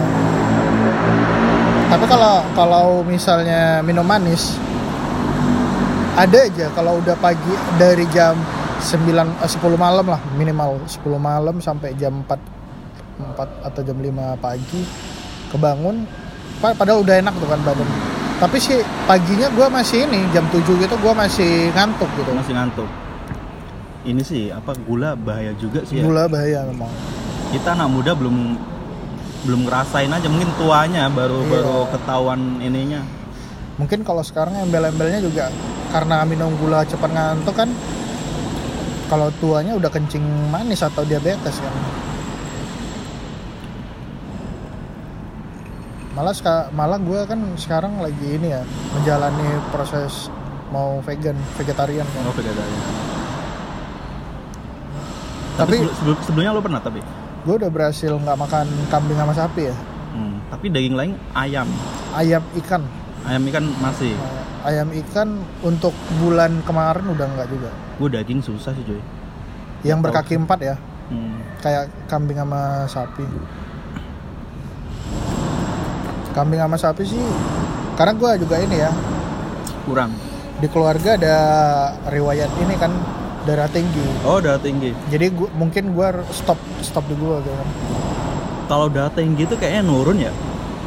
[SPEAKER 1] Tapi kalau kalau misalnya minum manis ada aja kalau udah pagi dari jam 9 eh, 10 malam lah minimal 10 malam sampai jam 4 4 atau jam 5 pagi kebangun pa- padahal udah enak tuh kan badan. Tapi sih paginya gua masih ini jam 7 gitu gua masih ngantuk gitu.
[SPEAKER 2] masih ngantuk ini sih apa gula bahaya juga sih ya.
[SPEAKER 1] Gula bahaya memang.
[SPEAKER 2] kita anak muda belum belum ngerasain aja mungkin tuanya baru
[SPEAKER 1] Iya.
[SPEAKER 2] baru ketahuan ininya
[SPEAKER 1] Mungkin kalau sekarang embel-embelnya juga karena minum gula cepat ngantuk kan kalau tuanya udah kencing manis atau diabetes kan malah seka- malah gue kan sekarang lagi ini ya menjalani proses mau vegan vegetarian kan.
[SPEAKER 2] Oh, vegetarian.
[SPEAKER 1] tapi
[SPEAKER 2] Tapi, sebelum- sebelum- sebelumnya lo pernah tapi?
[SPEAKER 1] gue udah berhasil nggak makan kambing sama sapi ya
[SPEAKER 2] Hmm, tapi daging lain ayam.
[SPEAKER 1] ayam ikan
[SPEAKER 2] Ayam ikan masih.
[SPEAKER 1] Nah, ayam ikan untuk bulan kemarin udah nggak juga
[SPEAKER 2] Gue daging susah sih, coy.
[SPEAKER 1] yang
[SPEAKER 2] Nggak tahu.
[SPEAKER 1] berkaki empat ya
[SPEAKER 2] Hmm.
[SPEAKER 1] kayak kambing sama sapi kambing sama sapi sih karena gue juga ini ya
[SPEAKER 2] Kurang.
[SPEAKER 1] di keluarga ada riwayat ini kan darah tinggi
[SPEAKER 2] Oh, darah tinggi.
[SPEAKER 1] jadi gua, mungkin gue stop stop di gue gitu kan
[SPEAKER 2] Kalau darah tinggi itu kayaknya nurun ya?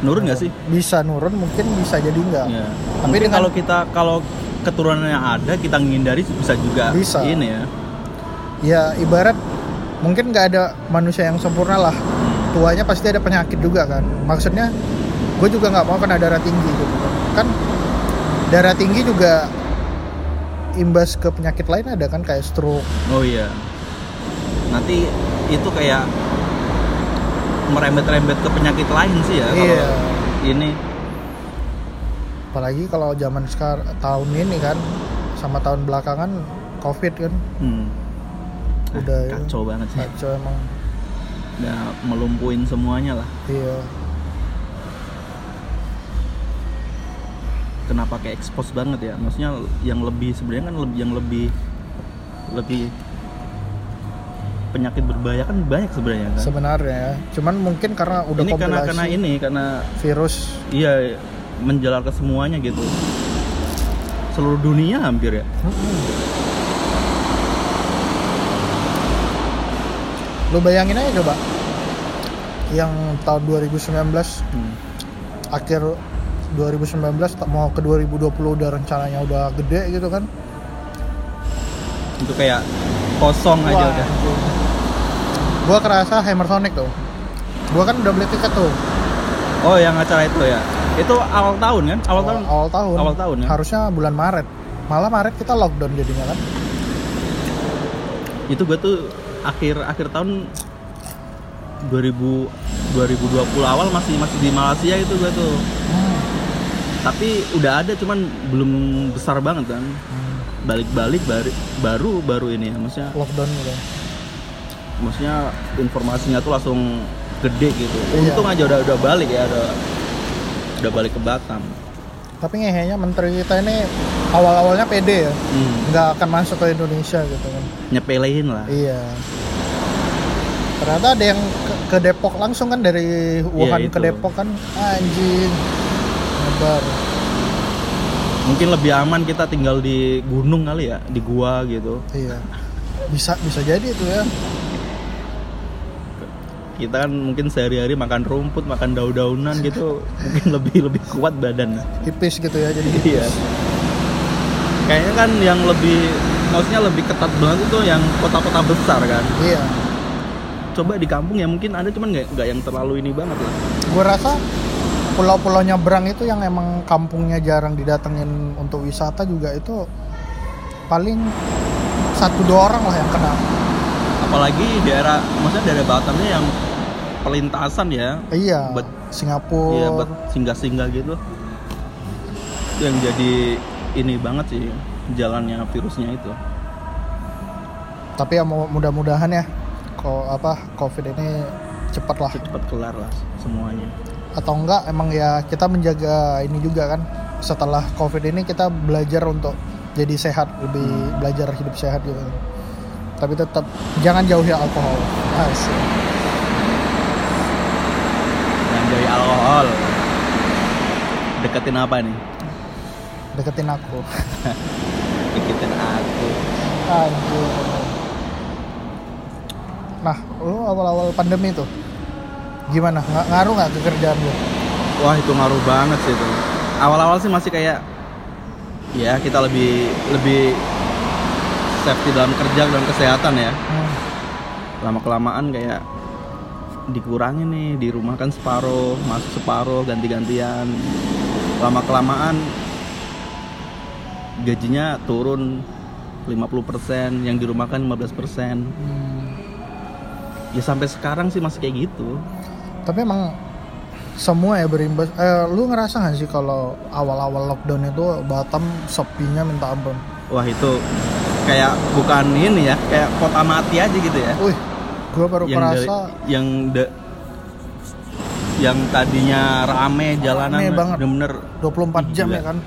[SPEAKER 2] Nurun nggak sih?
[SPEAKER 1] bisa nurun mungkin bisa jadi enggak
[SPEAKER 2] Ya.
[SPEAKER 1] Tapi
[SPEAKER 2] Mungkin
[SPEAKER 1] dengan-
[SPEAKER 2] kalau kita kalau keturunannya ada kita menghindari bisa juga
[SPEAKER 1] Bisa.
[SPEAKER 2] ini ya.
[SPEAKER 1] ya ibarat mungkin nggak ada manusia yang sempurna lah tuanya pasti ada penyakit juga kan maksudnya gue juga nggak mau kena darah tinggi gitu kan. kan darah tinggi juga imbas ke penyakit lain ada kan kayak stroke
[SPEAKER 2] Oh iya. Nanti itu kayak merembet-rembet ke penyakit lain sih ya kalau
[SPEAKER 1] Iya.
[SPEAKER 2] ini
[SPEAKER 1] apalagi kalau zaman sekarang tahun ini kan sama tahun belakangan covid kan
[SPEAKER 2] hmm. Ah,
[SPEAKER 1] Udah, ya.
[SPEAKER 2] kacau banget sih.
[SPEAKER 1] kacau emang
[SPEAKER 2] Udah melumpuin semuanya lah.
[SPEAKER 1] iya
[SPEAKER 2] Kenapa kayak expose banget ya? Maksudnya yang lebih sebenarnya kan lebih yang lebih lebih penyakit berbahaya kan banyak sebenarnya kan.
[SPEAKER 1] sebenarnya ya. cuman mungkin karena udah
[SPEAKER 2] ini karena
[SPEAKER 1] kompilasi
[SPEAKER 2] karena ini karena
[SPEAKER 1] virus
[SPEAKER 2] Iya, menjelar ke semuanya gitu. Seluruh dunia hampir ya.
[SPEAKER 1] lo bayangin aja coba yang tahun 2019
[SPEAKER 2] Hmm.
[SPEAKER 1] akhir 2019 tak mau ke 2020 udah rencananya udah gede gitu kan
[SPEAKER 2] Itu kayak kosong aja
[SPEAKER 1] Wah,
[SPEAKER 2] udah.
[SPEAKER 1] anjing. gua kerasa Hammer Sonic tuh gua kan udah beli tiket tuh
[SPEAKER 2] Oh, yang acara itu ya. Itu awal tahun kan? Awal tahun.
[SPEAKER 1] awal tahun
[SPEAKER 2] awal tahun, ya?
[SPEAKER 1] harusnya bulan Maret malah Maret kita lockdown jadinya kan
[SPEAKER 2] Itu gue tuh akhir akhir tahun 2000 2020 awal masih masih di Malaysia itu gue tuh. Tapi udah ada cuman belum besar banget kan.
[SPEAKER 1] Hmm,
[SPEAKER 2] Balik-balik bari- baru baru ini ya maksudnya.
[SPEAKER 1] lockdown gitu
[SPEAKER 2] maksudnya informasinya tuh langsung gede gitu.
[SPEAKER 1] Iya.
[SPEAKER 2] Untung aja udah udah balik ya, udah udah balik ke Batam.
[SPEAKER 1] tapi ngehenya menteri kita ini awal-awalnya pede ya
[SPEAKER 2] Hmm,
[SPEAKER 1] nggak akan masuk ke Indonesia gitu kan
[SPEAKER 2] nyepelein lah.
[SPEAKER 1] iya ternyata ada yang ke, ke Depok langsung kan dari Wuhan ke
[SPEAKER 2] Iya, itu.
[SPEAKER 1] Depok kan anjing nyebar
[SPEAKER 2] Mungkin lebih aman kita tinggal di gunung kali ya, di gua gitu.
[SPEAKER 1] iya bisa bisa jadi itu ya
[SPEAKER 2] Kita kan mungkin sehari-hari makan rumput, makan daun-daunan gitu, mungkin lebih lebih kuat badan.
[SPEAKER 1] tipis gitu ya jadi
[SPEAKER 2] Iya. Kayaknya kan yang lebih maksudnya lebih ketat banget itu yang kota-kota besar kan.
[SPEAKER 1] iya
[SPEAKER 2] Coba di kampung ya mungkin ada cuman nggak nggak yang terlalu ini banget lah.
[SPEAKER 1] gue rasa pulau-pulau nyebrang itu yang emang kampungnya jarang didatengin untuk wisata juga itu paling satu dua orang lah yang kena
[SPEAKER 2] apalagi daerah maksudnya daerah Batamnya yang pelintasan ya
[SPEAKER 1] iya
[SPEAKER 2] Bet-
[SPEAKER 1] Singapura
[SPEAKER 2] ya buat singgah-singgah gitu itu yang jadi ini banget sih jalannya virusnya itu
[SPEAKER 1] tapi ya mau- mudah-mudahan ya kok apa covid ini cepat lah
[SPEAKER 2] cepat kelar lah semuanya
[SPEAKER 1] atau enggak emang ya kita menjaga ini juga kan setelah covid ini kita belajar untuk jadi sehat lebih belajar hidup sehat gitu tapi tetap jangan jauhi alkohol Asik.
[SPEAKER 2] dan dari alkohol deketin apa nih
[SPEAKER 1] deketin aku
[SPEAKER 2] deketin aku
[SPEAKER 1] Aduh. nah lu awal-awal pandemi tuh gimana nggak ngaruh nggak ke kerjaan lu
[SPEAKER 2] wah itu ngaruh banget sih itu awal-awal sih masih kayak ya kita lebih lebih safety dalam kerja dan kesehatan ya
[SPEAKER 1] Hmm,
[SPEAKER 2] lama kelamaan kayak dikurangin nih di rumah kan separuh masuk separuh ganti gantian lama kelamaan gajinya turun 50%, yang dirumahkan 15%.
[SPEAKER 1] Hmm,
[SPEAKER 2] Ya sampai sekarang sih masih kayak gitu.
[SPEAKER 1] Tapi emang semua ya berimbas. Eh, lu ngerasa nggak sih kalau awal-awal lockdown itu Batam sepinya minta ampun?
[SPEAKER 2] Wah, itu kayak bukan ini ya, kayak kota mati aja gitu ya.
[SPEAKER 1] Wih, gue baru
[SPEAKER 2] yang dari-
[SPEAKER 1] merasa
[SPEAKER 2] yang da- yang tadinya rame jalanan
[SPEAKER 1] Rame banget.
[SPEAKER 2] bener-bener
[SPEAKER 1] 24 jam
[SPEAKER 2] Gila.
[SPEAKER 1] ya kan?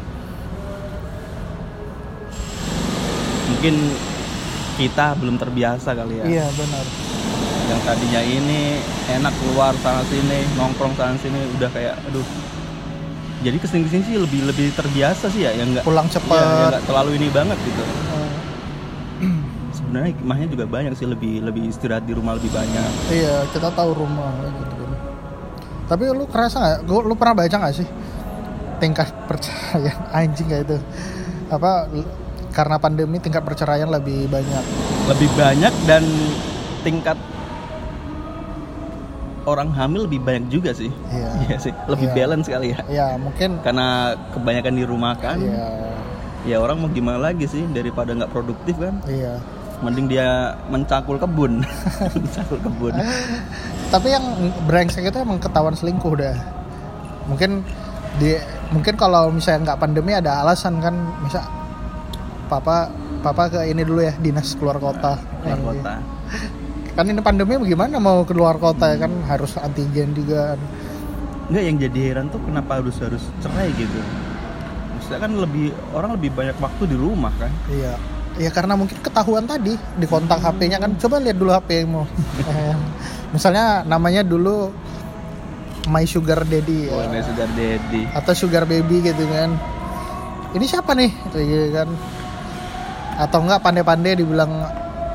[SPEAKER 2] mungkin kita belum terbiasa kali ya
[SPEAKER 1] Iya benar.
[SPEAKER 2] yang tadinya ini enak keluar sana sini nongkrong sana sini udah kayak aduh jadi kesini kesini sih lebih lebih terbiasa sih ya yang nggak
[SPEAKER 1] Pulang
[SPEAKER 2] iya, yang
[SPEAKER 1] cepet.
[SPEAKER 2] nggak terlalu ini banget gitu
[SPEAKER 1] eh,
[SPEAKER 2] sebenarnya hikmahnya juga banyak sih lebih lebih istirahat di rumah lebih banyak
[SPEAKER 1] Iya, kita tahu rumah kayak gitu kan. Tapi lu kerasa nggak? Gua lu pernah baca nggak sih tingkat perceraian anjing kayak itu? Apa l- karena pandemi tingkat perceraian lebih banyak?
[SPEAKER 2] lebih banyak dan tingkat orang hamil lebih banyak juga sih
[SPEAKER 1] Iya.
[SPEAKER 2] iya sih lebih
[SPEAKER 1] Iya.
[SPEAKER 2] balance kali ya
[SPEAKER 1] Ya mungkin.
[SPEAKER 2] karena kebanyakan di rumah kan
[SPEAKER 1] Iya,
[SPEAKER 2] ya orang mau gimana lagi sih daripada nggak produktif kan
[SPEAKER 1] iya.
[SPEAKER 2] mending dia mencakul kebun mencakul kebun
[SPEAKER 1] Tapi yang brengsek itu emang ketahuan selingkuh udah. Mungkin di mungkin kalau misalnya nggak pandemi ada alasan kan misal papa papa ke ini dulu ya dinas keluar kota
[SPEAKER 2] keluar
[SPEAKER 1] Iya.
[SPEAKER 2] kota
[SPEAKER 1] kan ini pandemi gimana mau keluar kota ya kan harus antigen juga kan.
[SPEAKER 2] nggak yang jadi heran tuh kenapa harus harus cerai gitu maksudnya kan lebih orang lebih banyak waktu di rumah kan
[SPEAKER 1] iya ya karena mungkin ketahuan tadi di kontak
[SPEAKER 2] Hmm.
[SPEAKER 1] HP-nya kan coba lihat dulu HP-mu Eh, misalnya namanya dulu My Sugar Daddy
[SPEAKER 2] oh
[SPEAKER 1] ya.
[SPEAKER 2] ini sugar daddy
[SPEAKER 1] atau Sugar Baby gitu kan ini siapa nih Gitu, gitu kan atau enggak pandai-pandai dibilang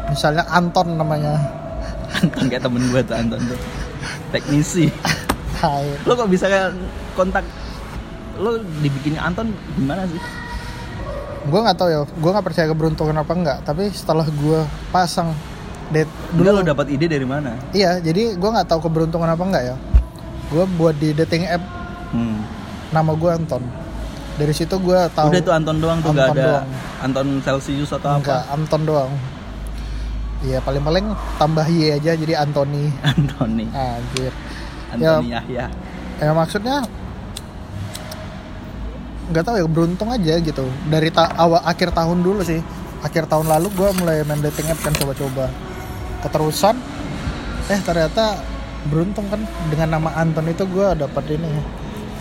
[SPEAKER 1] misalnya Anton namanya
[SPEAKER 2] Anton kan kayak temen gue tuh Anton tuh teknisi
[SPEAKER 1] Hai
[SPEAKER 2] lo kok bisa kayak kontak lo dibikinnya Anton gimana sih
[SPEAKER 1] gue nggak tahu ya gue nggak percaya keberuntungan apa enggak tapi setelah gue pasang date
[SPEAKER 2] dulu lo dapat ide dari mana
[SPEAKER 1] Iya, jadi gue nggak tahu keberuntungan apa nggak ya. Gue buat di dating app
[SPEAKER 2] hmm.
[SPEAKER 1] nama gue Anton. Dari situ gue tahu
[SPEAKER 2] udah tuh Anton doang tuh nggak
[SPEAKER 1] Anton
[SPEAKER 2] ada
[SPEAKER 1] doang.
[SPEAKER 2] Anton Celsius atau
[SPEAKER 1] enggak
[SPEAKER 2] apa
[SPEAKER 1] Anton doang. Iya, paling-paling tambah Y aja jadi Antoni.
[SPEAKER 2] Antoni
[SPEAKER 1] Anjir.
[SPEAKER 2] Antoni Yahya
[SPEAKER 1] Ya maksudnya nggak tahu ya beruntung aja gitu. Dari ta- awal akhir tahun dulu sih. Akhir tahun lalu gue mulai main dating app kan coba-coba. Keterusan eh ternyata beruntung kan dengan nama Anton itu gue dapat ini ya.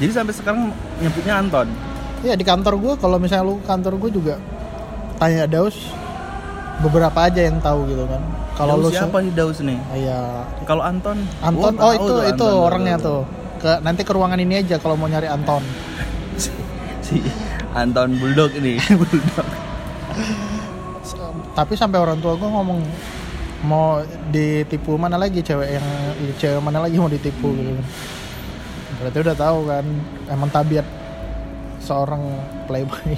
[SPEAKER 2] Jadi sampai sekarang nyebutnya Anton.
[SPEAKER 1] Iya di kantor gue kalau misalnya lu ke kantor gue juga tanya Daus beberapa aja yang tahu gitu kan. Kalau
[SPEAKER 2] Daus
[SPEAKER 1] lu
[SPEAKER 2] siapa nih Daus nih?
[SPEAKER 1] Iya
[SPEAKER 2] Kalau Anton,
[SPEAKER 1] Anton oh,
[SPEAKER 2] Wah, tahu
[SPEAKER 1] itu
[SPEAKER 2] tuh
[SPEAKER 1] itu
[SPEAKER 2] Anton, tahu
[SPEAKER 1] orangnya tuh. Ke nanti ke ruangan ini aja kalau mau nyari Anton.
[SPEAKER 2] Si Anton Bulldog ini, Bulldog.
[SPEAKER 1] S- Tapi sampai orang tua gue ngomong mau ditipu mana lagi cewek yang cewek mana lagi mau ditipu gitu kan. Berarti udah tahu kan emang tabiat seorang playboy.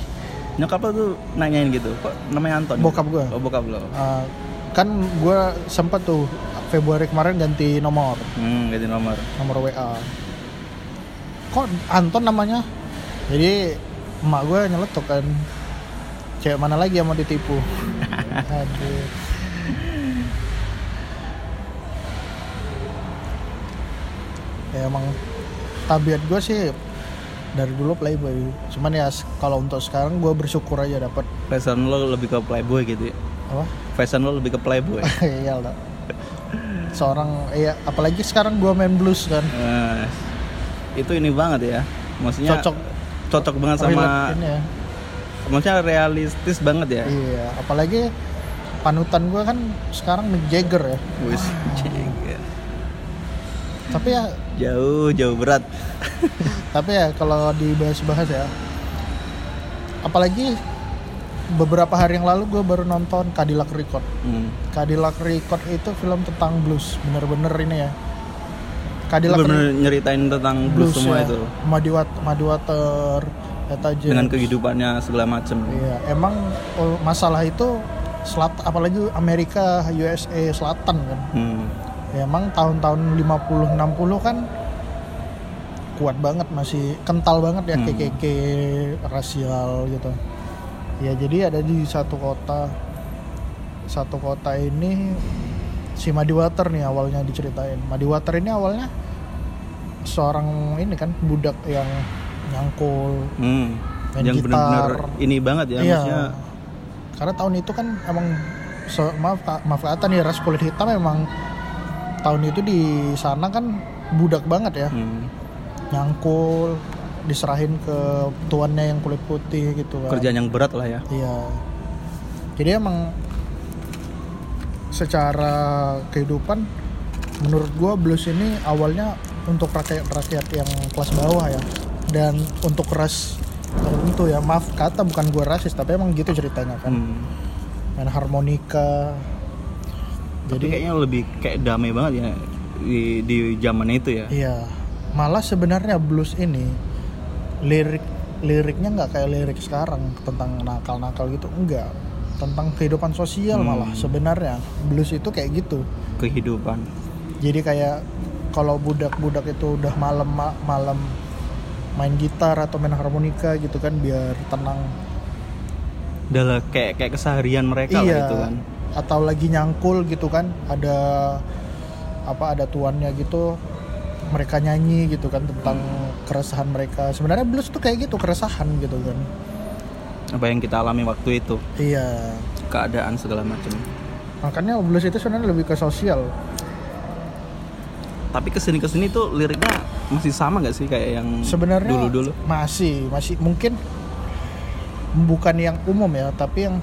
[SPEAKER 2] Nyokap lo tuh nanyain gitu, kok namanya Anton?
[SPEAKER 1] Bokap gua.
[SPEAKER 2] Oh, bokap lo.
[SPEAKER 1] Uh, kan gue sempet tuh Februari kemarin ganti nomor.
[SPEAKER 2] Hmm, ganti nomor.
[SPEAKER 1] nomor WA kok Anton namanya jadi emak gue nyeletuk kan cewek mana lagi yang mau ditipu aduh ya emang tabiat gue sih dari dulu playboy cuman ya s- kalau untuk sekarang gue bersyukur aja dapat
[SPEAKER 2] Fashion lo lebih ke playboy gitu ya.
[SPEAKER 1] apa
[SPEAKER 2] Fashion lo lebih ke playboy.
[SPEAKER 1] iya lah seorang ya apalagi sekarang gue main blues kan
[SPEAKER 2] Eh, itu ini banget ya. Maksudnya
[SPEAKER 1] cocok
[SPEAKER 2] cocok banget sama
[SPEAKER 1] relate ini ya.
[SPEAKER 2] maksudnya realistis banget ya.
[SPEAKER 1] Iya, apalagi panutan gue kan sekarang Mick Jagger ya.
[SPEAKER 2] Wis, jengger.
[SPEAKER 1] Tapi ya,
[SPEAKER 2] jauh jauh berat.
[SPEAKER 1] tapi ya kalau dibahas-bahas ya, apalagi beberapa hari yang lalu gue baru nonton Cadillac Record.
[SPEAKER 2] Hmm.
[SPEAKER 1] Cadillac Record itu film tentang blues, bener-bener ini ya.
[SPEAKER 2] Lu
[SPEAKER 1] Cadillac
[SPEAKER 2] Bener-bener nyeritain tentang blues, semua
[SPEAKER 1] ya.
[SPEAKER 2] itu.
[SPEAKER 1] Muddywater, Muddywater, Eta James.
[SPEAKER 2] dengan kehidupannya segala macem
[SPEAKER 1] Iya, emang oh, masalah itu selat, apalagi Amerika, USA Selatan kan.
[SPEAKER 2] Hmm.
[SPEAKER 1] Ya, emang tahun-tahun 50 60 kan kuat banget masih kental banget ya
[SPEAKER 2] Hmm.
[SPEAKER 1] KKK rasial gitu. ya jadi ada di satu kota satu kota ini si Madiwater nih awalnya diceritain Madiwater ini awalnya seorang ini kan budak yang nyangkul
[SPEAKER 2] Hmm.
[SPEAKER 1] Main
[SPEAKER 2] yang
[SPEAKER 1] gitar.
[SPEAKER 2] benar-benar ini banget ya
[SPEAKER 1] Iya.
[SPEAKER 2] maksudnya
[SPEAKER 1] karena tahun itu kan emang so- maaf ka- maaf kata nih ras kulit hitam emang tahun itu di sana kan budak banget ya
[SPEAKER 2] hmm,
[SPEAKER 1] nyangkul diserahin ke tuannya yang kulit putih gitu kan
[SPEAKER 2] kerjaan yang berat lah ya.
[SPEAKER 1] Iya. Jadi emang secara kehidupan menurut gua blues ini awalnya untuk rakyat rakyat yang kelas bawah ya dan untuk ras tertentu ya maaf kata bukan gua rasis tapi emang gitu ceritanya kan
[SPEAKER 2] Hmm.
[SPEAKER 1] main harmonika jadi
[SPEAKER 2] Jadi kayaknya lebih kayak damai banget ya di di zaman itu ya.
[SPEAKER 1] iya malah sebenarnya blues ini lirik liriknya nggak kayak lirik sekarang tentang nakal-nakal gitu enggak tentang kehidupan sosial malah sebenarnya blues itu kayak gitu
[SPEAKER 2] Kehidupan.
[SPEAKER 1] jadi kayak kalau budak-budak itu udah malam ma- malam main gitar atau main harmonika gitu kan biar tenang
[SPEAKER 2] Adalah kayak kayak keseharian mereka lah itu kan.
[SPEAKER 1] Iya. atau lagi nyangkul gitu kan ada apa ada tuannya gitu mereka nyanyi gitu kan tentang keresahan mereka sebenarnya blues tuh kayak gitu keresahan gitu kan
[SPEAKER 2] Apa yang kita alami waktu itu,
[SPEAKER 1] iya
[SPEAKER 2] keadaan segala macam.
[SPEAKER 1] makanya blues itu sebenarnya lebih ke sosial
[SPEAKER 2] Tapi kesini kesini tuh liriknya masih sama nggak sih kayak yang
[SPEAKER 1] sebenarnya
[SPEAKER 2] dulu dulu?
[SPEAKER 1] masih masih mungkin bukan yang umum ya tapi yang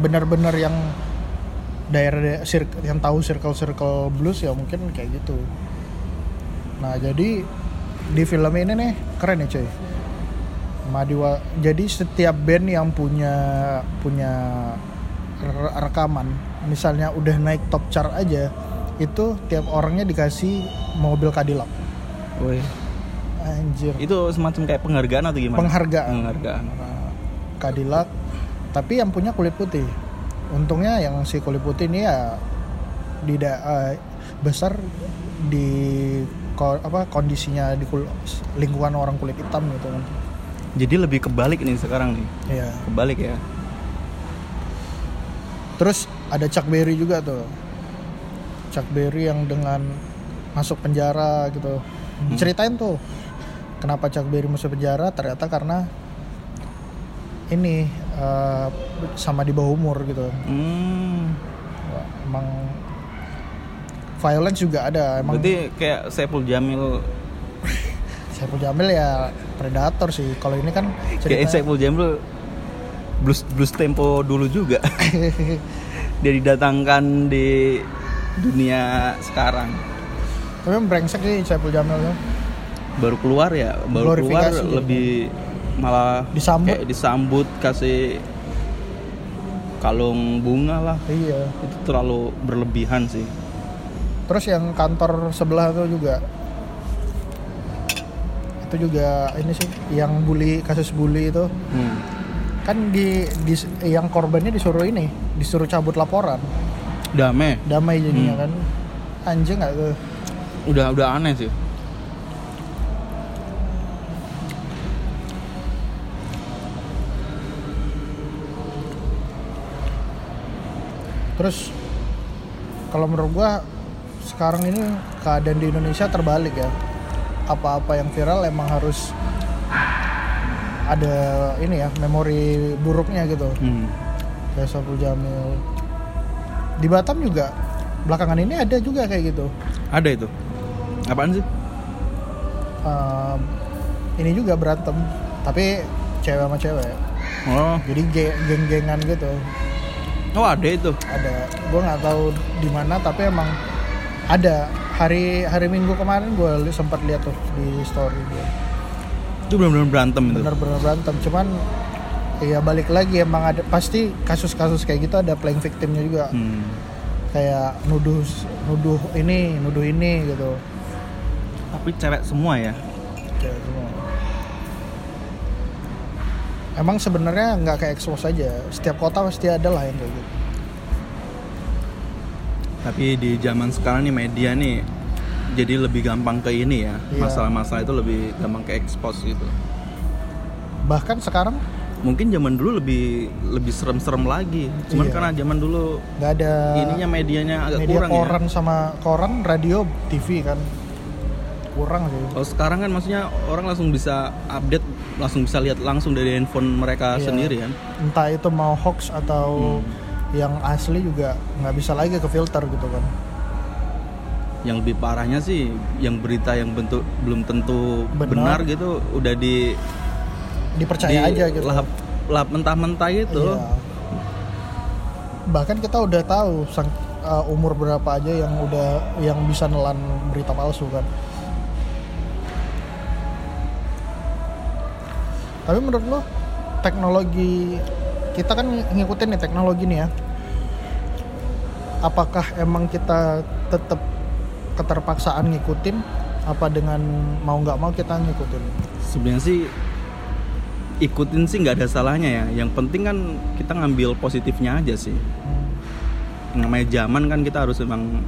[SPEAKER 1] benar-benar yang daerah sir- yang tahu circle circle blues ya mungkin kayak gitu nah jadi di film ini nih keren ya cuy Madiwa jadi setiap band yang punya punya re- rekaman misalnya udah naik top chart aja itu tiap orangnya dikasih mobil Cadillac
[SPEAKER 2] Woi,
[SPEAKER 1] anjir
[SPEAKER 2] itu semacam kayak penghargaan atau gimana?
[SPEAKER 1] penghargaan
[SPEAKER 2] Penghargaan.
[SPEAKER 1] Nah, Cadillac tapi yang punya kulit putih untungnya yang si kulit putih ini ya di da- eh, besar di ko- apa kondisinya di kul- lingkungan orang kulit hitam gitu kan
[SPEAKER 2] Jadi lebih kebalik nih sekarang nih,
[SPEAKER 1] Iya.
[SPEAKER 2] kebalik ya.
[SPEAKER 1] terus ada Chuck Berry juga tuh Chuck Berry yang dengan masuk penjara gitu ceritain tuh kenapa Chuck Berry masuk penjara ternyata karena ini eh, sama di bawah umur gitu
[SPEAKER 2] Hmm.
[SPEAKER 1] Wah, emang violence juga ada emang
[SPEAKER 2] Berarti kayak Saiful Jamil,
[SPEAKER 1] Saiful Jamil ya predator sih kalau ini kan
[SPEAKER 2] kayak
[SPEAKER 1] cerita
[SPEAKER 2] Saiful Jamil blues blues tempo dulu juga. Dia didatangkan di dunia sekarang.
[SPEAKER 1] tapi emang brengsek sih Saiful Jamil ya. tuh
[SPEAKER 2] Baru keluar ya, baru keluar
[SPEAKER 1] Glorifikasi. gitu.
[SPEAKER 2] lebih malah
[SPEAKER 1] Disambut.
[SPEAKER 2] kayak disambut kasih kalung bunga lah.
[SPEAKER 1] iya
[SPEAKER 2] Itu terlalu berlebihan sih.
[SPEAKER 1] terus yang kantor sebelah tuh juga itu juga ini sih yang bully kasus bully itu
[SPEAKER 2] Hmm.
[SPEAKER 1] kan di, di- yang korbannya disuruh ini disuruh cabut laporan
[SPEAKER 2] Damai.
[SPEAKER 1] damai jadinya kan anjing nggak tuh
[SPEAKER 2] udah udah aneh sih
[SPEAKER 1] Terus kalau menurut gua sekarang ini keadaan di Indonesia terbalik ya. Apa-apa yang viral emang harus ada ini ya memori buruknya gitu.
[SPEAKER 2] hmm.
[SPEAKER 1] Kayak Saiful Jamil. Di Batam juga belakangan ini ada juga kayak gitu.
[SPEAKER 2] ada itu apaan sih
[SPEAKER 1] Ehm, ini juga berantem tapi cewek sama cewek.
[SPEAKER 2] oh
[SPEAKER 1] Jadi ge- geng-gengan gitu.
[SPEAKER 2] oh ada itu
[SPEAKER 1] ada gue nggak tahu di mana tapi emang ada hari hari minggu kemarin gue sempat lihat tuh di story gue
[SPEAKER 2] itu benar-benar berantem itu
[SPEAKER 1] bener-bener berantem cuman ya balik lagi emang ada pasti kasus-kasus kayak gitu ada playing victimnya juga
[SPEAKER 2] hmm.
[SPEAKER 1] kayak nuduh nuduh ini nuduh ini gitu
[SPEAKER 2] tapi cewek semua ya
[SPEAKER 1] Kayak semua. emang sebenarnya nggak kayak expose aja setiap kota pasti ada lah yang kayak gitu
[SPEAKER 2] tapi di zaman sekarang nih media nih jadi lebih gampang ke ini ya
[SPEAKER 1] Iya.
[SPEAKER 2] masalah-masalah itu lebih gampang ke expose gitu
[SPEAKER 1] bahkan sekarang
[SPEAKER 2] mungkin zaman dulu lebih lebih serem-serem lagi
[SPEAKER 1] Iya.
[SPEAKER 2] cuman karena zaman dulu
[SPEAKER 1] nggak ada
[SPEAKER 2] ininya medianya agak
[SPEAKER 1] media
[SPEAKER 2] kurang ya
[SPEAKER 1] koran sama koran radio TV kan kurang sih
[SPEAKER 2] kalau sekarang kan maksudnya orang langsung bisa update langsung bisa lihat langsung dari handphone mereka
[SPEAKER 1] Iya.
[SPEAKER 2] sendiri kan
[SPEAKER 1] entah itu mau hoax atau
[SPEAKER 2] Hmm.
[SPEAKER 1] yang asli juga nggak bisa lagi ke filter gitu kan
[SPEAKER 2] yang lebih parahnya sih yang berita yang bentuk belum tentu
[SPEAKER 1] Benar.
[SPEAKER 2] benar, gitu udah di
[SPEAKER 1] dipercaya
[SPEAKER 2] di
[SPEAKER 1] aja gitu
[SPEAKER 2] lahap lahap mentah-mentah gitu
[SPEAKER 1] Iya. bahkan kita udah tahu sang, uh, umur berapa aja yang udah yang bisa nelan berita palsu kan tapi menurut lo teknologi kita kan ng- ngikutin nih teknologi nih ya apakah emang kita tetap keterpaksaan ngikutin apa dengan mau nggak mau kita ngikutin
[SPEAKER 2] sebenarnya sih ikutin sih nggak ada salahnya ya yang penting kan kita ngambil positifnya aja sih
[SPEAKER 1] Hmm.
[SPEAKER 2] namanya zaman kan kita harus emang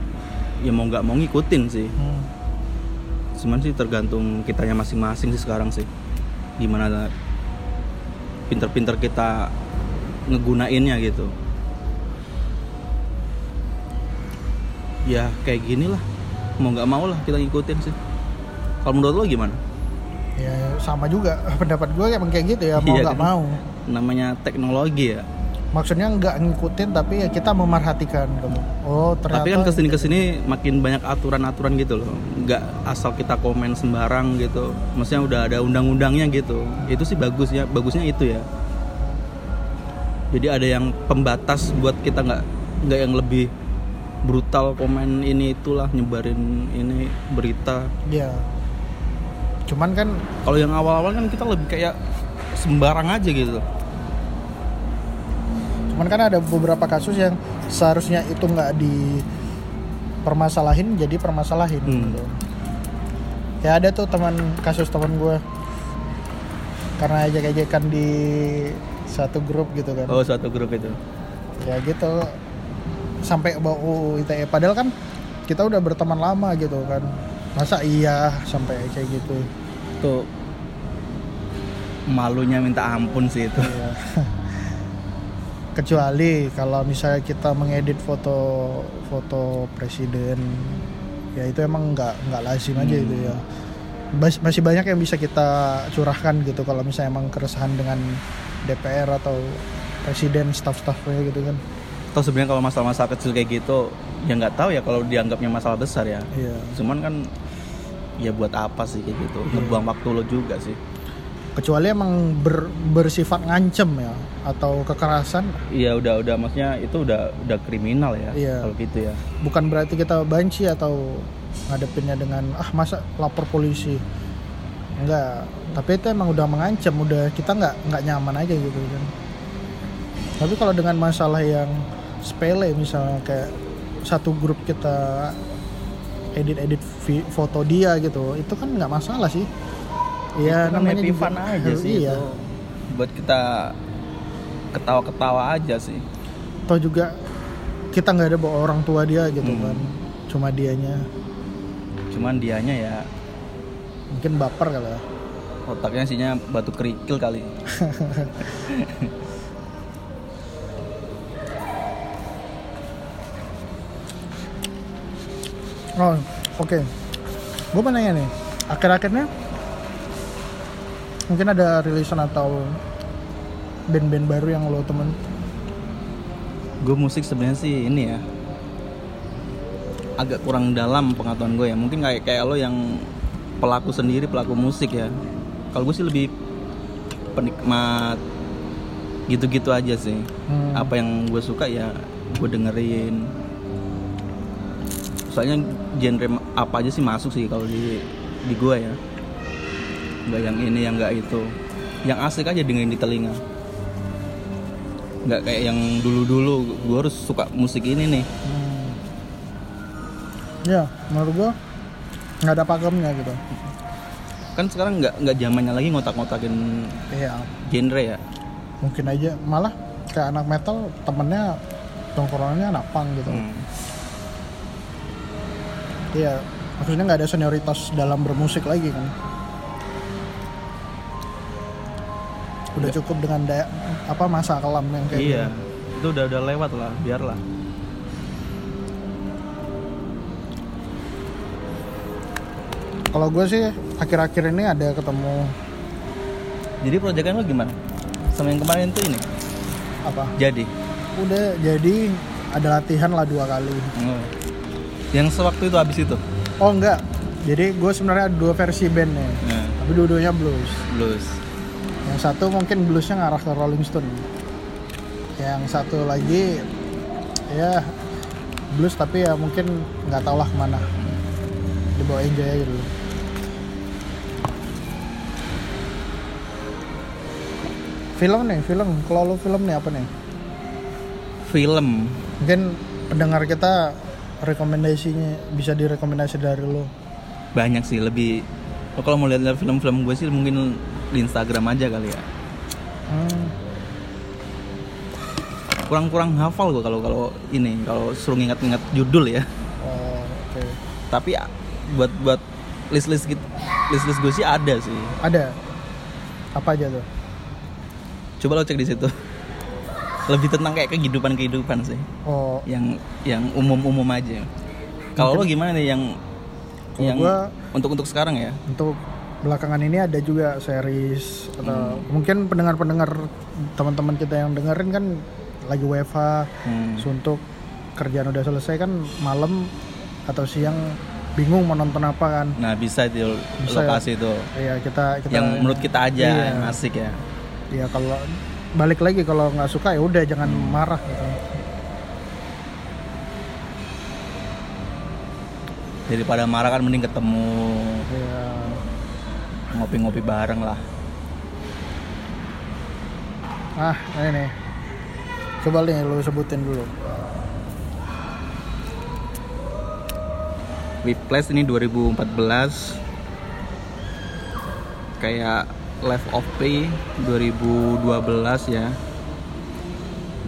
[SPEAKER 2] ya mau nggak mau ngikutin sih
[SPEAKER 1] Hmm.
[SPEAKER 2] cuman sih tergantung kitanya masing-masing sih sekarang sih gimana pinter-pinter kita ngegunainnya gitu ya kayak gini lah mau nggak mau lah kita ngikutin sih kalau menurut lo gimana
[SPEAKER 1] ya sama juga pendapat gue emang kayak gitu ya mau
[SPEAKER 2] Iya
[SPEAKER 1] nggak
[SPEAKER 2] kan?
[SPEAKER 1] mau
[SPEAKER 2] namanya teknologi ya
[SPEAKER 1] maksudnya nggak ngikutin tapi ya kita memerhatikan kamu oh ternyata
[SPEAKER 2] tapi kan kesini kesini makin banyak aturan-aturan gitu loh nggak asal kita komen sembarang gitu maksudnya udah ada undang-undangnya gitu itu sih bagusnya bagusnya itu ya jadi ada yang pembatas buat kita nggak nggak yang lebih brutal komen ini itulah nyebarin ini berita
[SPEAKER 1] ya cuman kan
[SPEAKER 2] kalau yang awal-awal kan kita lebih kayak sembarang aja gitu
[SPEAKER 1] cuman kan ada beberapa kasus yang seharusnya itu nggak dipermasalahin jadi permasalahin
[SPEAKER 2] Hmm.
[SPEAKER 1] gitu. ya ada tuh teman kasus teman gue karena ejek-ejekan di satu grup gitu kan
[SPEAKER 2] oh satu grup itu
[SPEAKER 1] ya gitu sampai bawa UU ITE padahal kan kita udah berteman lama gitu kan masa iya sampai kayak gitu
[SPEAKER 2] tuh malunya minta ampun sih itu
[SPEAKER 1] Iya. kecuali kalau misalnya kita mengedit foto foto presiden ya itu emang nggak nggak lazim aja
[SPEAKER 2] Hmm.
[SPEAKER 1] itu ya Bas- masih banyak yang bisa kita curahkan gitu kalau misalnya emang keresahan dengan DPR atau presiden staff-staffnya gitu kan
[SPEAKER 2] Atau sebenarnya kalau masalah-masalah kecil kayak gitu ya nggak tahu ya kalau dianggapnya masalah besar ya.
[SPEAKER 1] iya
[SPEAKER 2] Cuman kan ya buat apa sih kayak gitu?
[SPEAKER 1] Hmm.
[SPEAKER 2] Ngebuang waktu lo juga sih.
[SPEAKER 1] kecuali emang ber- bersifat ngancem ya atau kekerasan
[SPEAKER 2] Iya udah udah maksudnya itu udah udah kriminal ya
[SPEAKER 1] Iya.
[SPEAKER 2] kalau gitu ya.
[SPEAKER 1] bukan berarti kita banci atau ngadepinnya dengan ah masa lapor polisi enggak tapi itu emang udah mengancam udah kita nggak nggak nyaman aja gitu kan tapi kalau dengan masalah yang sepele misalnya kayak satu grup kita edit-edit vi- foto dia gitu itu kan nggak masalah sih Iya
[SPEAKER 2] Itu kan happy
[SPEAKER 1] juga-
[SPEAKER 2] fun aja sih
[SPEAKER 1] iya.
[SPEAKER 2] itu. Buat kita ketawa-ketawa aja sih.
[SPEAKER 1] atau juga kita nggak ada bawa orang tua dia gitu
[SPEAKER 2] Hmm.
[SPEAKER 1] kan cuma dianya
[SPEAKER 2] Cuman dianya ya
[SPEAKER 1] mungkin baper kali ya
[SPEAKER 2] otaknya isinya batu kerikil kali.
[SPEAKER 1] oh oke gue mau nanya nih akhir-akhirnya mungkin ada rilisan atau band-band baru yang lo temen
[SPEAKER 2] gue musik sebenarnya sih ini ya agak kurang dalam pengetahuan gue ya mungkin kayak kayak lo yang pelaku sendiri pelaku musik ya kalau gue sih lebih penikmat gitu-gitu aja sih
[SPEAKER 1] Hmm.
[SPEAKER 2] apa yang gue suka ya gue dengerin soalnya genre ma- apa aja sih masuk sih kalau di di gue ya nggak yang ini yang nggak itu yang asik aja dengerin di telinga nggak kayak yang dulu-dulu gue harus suka musik ini nih
[SPEAKER 1] Hmm. ya menurut gue nggak ada pakemnya gitu
[SPEAKER 2] kan sekarang nggak nggak zamannya lagi ngotak-ngotakin
[SPEAKER 1] iya
[SPEAKER 2] genre ya
[SPEAKER 1] mungkin aja malah kayak anak metal temennya tongkrongannya anak punk gitu
[SPEAKER 2] Hmm.
[SPEAKER 1] Iya, maksudnya nggak ada senioritas dalam bermusik lagi kan? udah cukup dengan daya, apa masa kelam yang kayak
[SPEAKER 2] iya
[SPEAKER 1] gini.
[SPEAKER 2] itu udah udah lewat lah biarlah
[SPEAKER 1] Kalau gue sih akhir-akhir ini ada ketemu
[SPEAKER 2] jadi proyekan lo gimana sama yang kemarin tuh ini
[SPEAKER 1] apa?
[SPEAKER 2] jadi
[SPEAKER 1] Udah jadi ada latihan lah dua kali.
[SPEAKER 2] Hmm. yang sewaktu itu habis itu
[SPEAKER 1] Oh enggak. Jadi gue sebenarnya ada dua versi bandnya,
[SPEAKER 2] Nah,
[SPEAKER 1] tapi dua-duanya Ya, blues.
[SPEAKER 2] blues
[SPEAKER 1] Yang satu mungkin bluesnya ngarah ke Rolling Stone. Yang satu lagi ya blues tapi ya mungkin nggak tau lah kemana. Dibawa enjoy aja dulu. Film nih, film. Kalau lu film nih apa nih?
[SPEAKER 2] film
[SPEAKER 1] Mungkin pendengar kita rekomendasinya bisa direkomendasi dari lu.
[SPEAKER 2] banyak sih lebih oh, kalau mau lihat film-film gue sih mungkin di Instagram aja kali ya
[SPEAKER 1] Hmm.
[SPEAKER 2] kurang-kurang hafal gue kalau kalau ini kalau suruh ingat-ingat judul ya
[SPEAKER 1] Oh, oke.
[SPEAKER 2] tapi a- buat buat list list gitu list list gue sih ada sih
[SPEAKER 1] Ada. Apa aja tuh?
[SPEAKER 2] coba lo cek di situ lebih tentang kayak kehidupan kehidupan sih
[SPEAKER 1] Oh,
[SPEAKER 2] yang yang umum umum aja kalau lo gimana nih yang
[SPEAKER 1] Kalau
[SPEAKER 2] yang
[SPEAKER 1] gua-
[SPEAKER 2] untuk untuk sekarang ya
[SPEAKER 1] untuk belakangan ini ada juga series atau mungkin pendengar-pendengar teman-teman kita yang dengerin kan lagi WFH
[SPEAKER 2] Hmm.
[SPEAKER 1] suntuk kerjaan udah selesai kan malam atau siang bingung mau nonton apa kan
[SPEAKER 2] nah bisa di
[SPEAKER 1] Bisa.
[SPEAKER 2] lokasi itu
[SPEAKER 1] ya kita kita
[SPEAKER 2] yang menurut kita aja
[SPEAKER 1] Iya.
[SPEAKER 2] yang asik ya
[SPEAKER 1] ya kalau balik lagi kalau nggak suka ya udah jangan marah gitu
[SPEAKER 2] daripada marah kan mending ketemu
[SPEAKER 1] ya
[SPEAKER 2] ngopi-ngopi bareng lah
[SPEAKER 1] ah ini nih. coba nih lu sebutin dulu
[SPEAKER 2] Whiplash ini 2014 kayak Left of P 2012 ya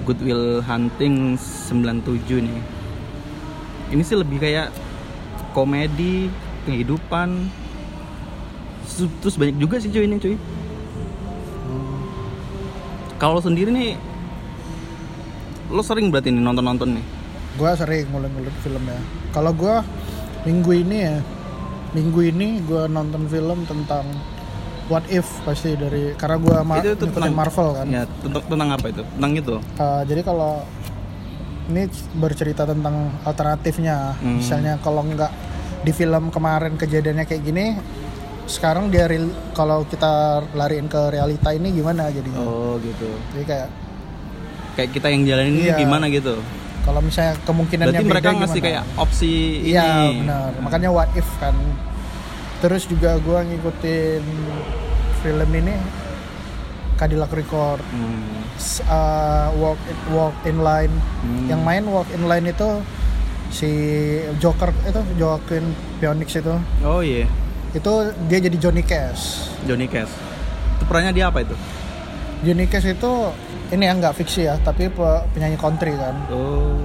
[SPEAKER 2] Goodwill Hunting 97 nih ini sih lebih kayak komedi kehidupan Terus- terus banyak juga sih cuy ini cuy kalau lo sendiri nih lo sering berarti nih nonton-nonton nih
[SPEAKER 1] gua sering ngulik-ngulik film ya kalau gua minggu ini ya minggu ini gua nonton film tentang What If pasti dari karena gua ma-
[SPEAKER 2] Itu- itu
[SPEAKER 1] ngikutin
[SPEAKER 2] tentang-
[SPEAKER 1] Marvel kan
[SPEAKER 2] ya tentang, tentang apa itu tentang itu
[SPEAKER 1] Uh, jadi kalau ini bercerita tentang alternatifnya
[SPEAKER 2] Hmm.
[SPEAKER 1] misalnya kalau nggak di film kemarin kejadiannya kayak gini sekarang dia real- kalau kita lariin ke realita ini gimana jadinya
[SPEAKER 2] oh gitu
[SPEAKER 1] jadi kayak
[SPEAKER 2] kayak kita yang jalanin ini
[SPEAKER 1] Iya.
[SPEAKER 2] gimana gitu.
[SPEAKER 1] kalau misalnya kemungkinannya
[SPEAKER 2] Berarti
[SPEAKER 1] beda
[SPEAKER 2] mereka ngasih
[SPEAKER 1] gimana?
[SPEAKER 2] kayak opsi
[SPEAKER 1] Iya
[SPEAKER 2] ini.
[SPEAKER 1] benar. Makanya what if kan. Terus juga gua ngikutin film ini Cadillac Record
[SPEAKER 2] Hmm.
[SPEAKER 1] S- uh, Walk Walk in Line.
[SPEAKER 2] Hmm.
[SPEAKER 1] Yang main Walk in Line itu si Joker itu Joaquin Phoenix itu.
[SPEAKER 2] Oh iya,
[SPEAKER 1] Itu dia jadi Johnny Cash.
[SPEAKER 2] Johnny Cash. Itu perannya dia apa itu?
[SPEAKER 1] Johnny Cash itu ini ya nggak fiksi ya, tapi pe- penyanyi country kan.
[SPEAKER 2] Oh.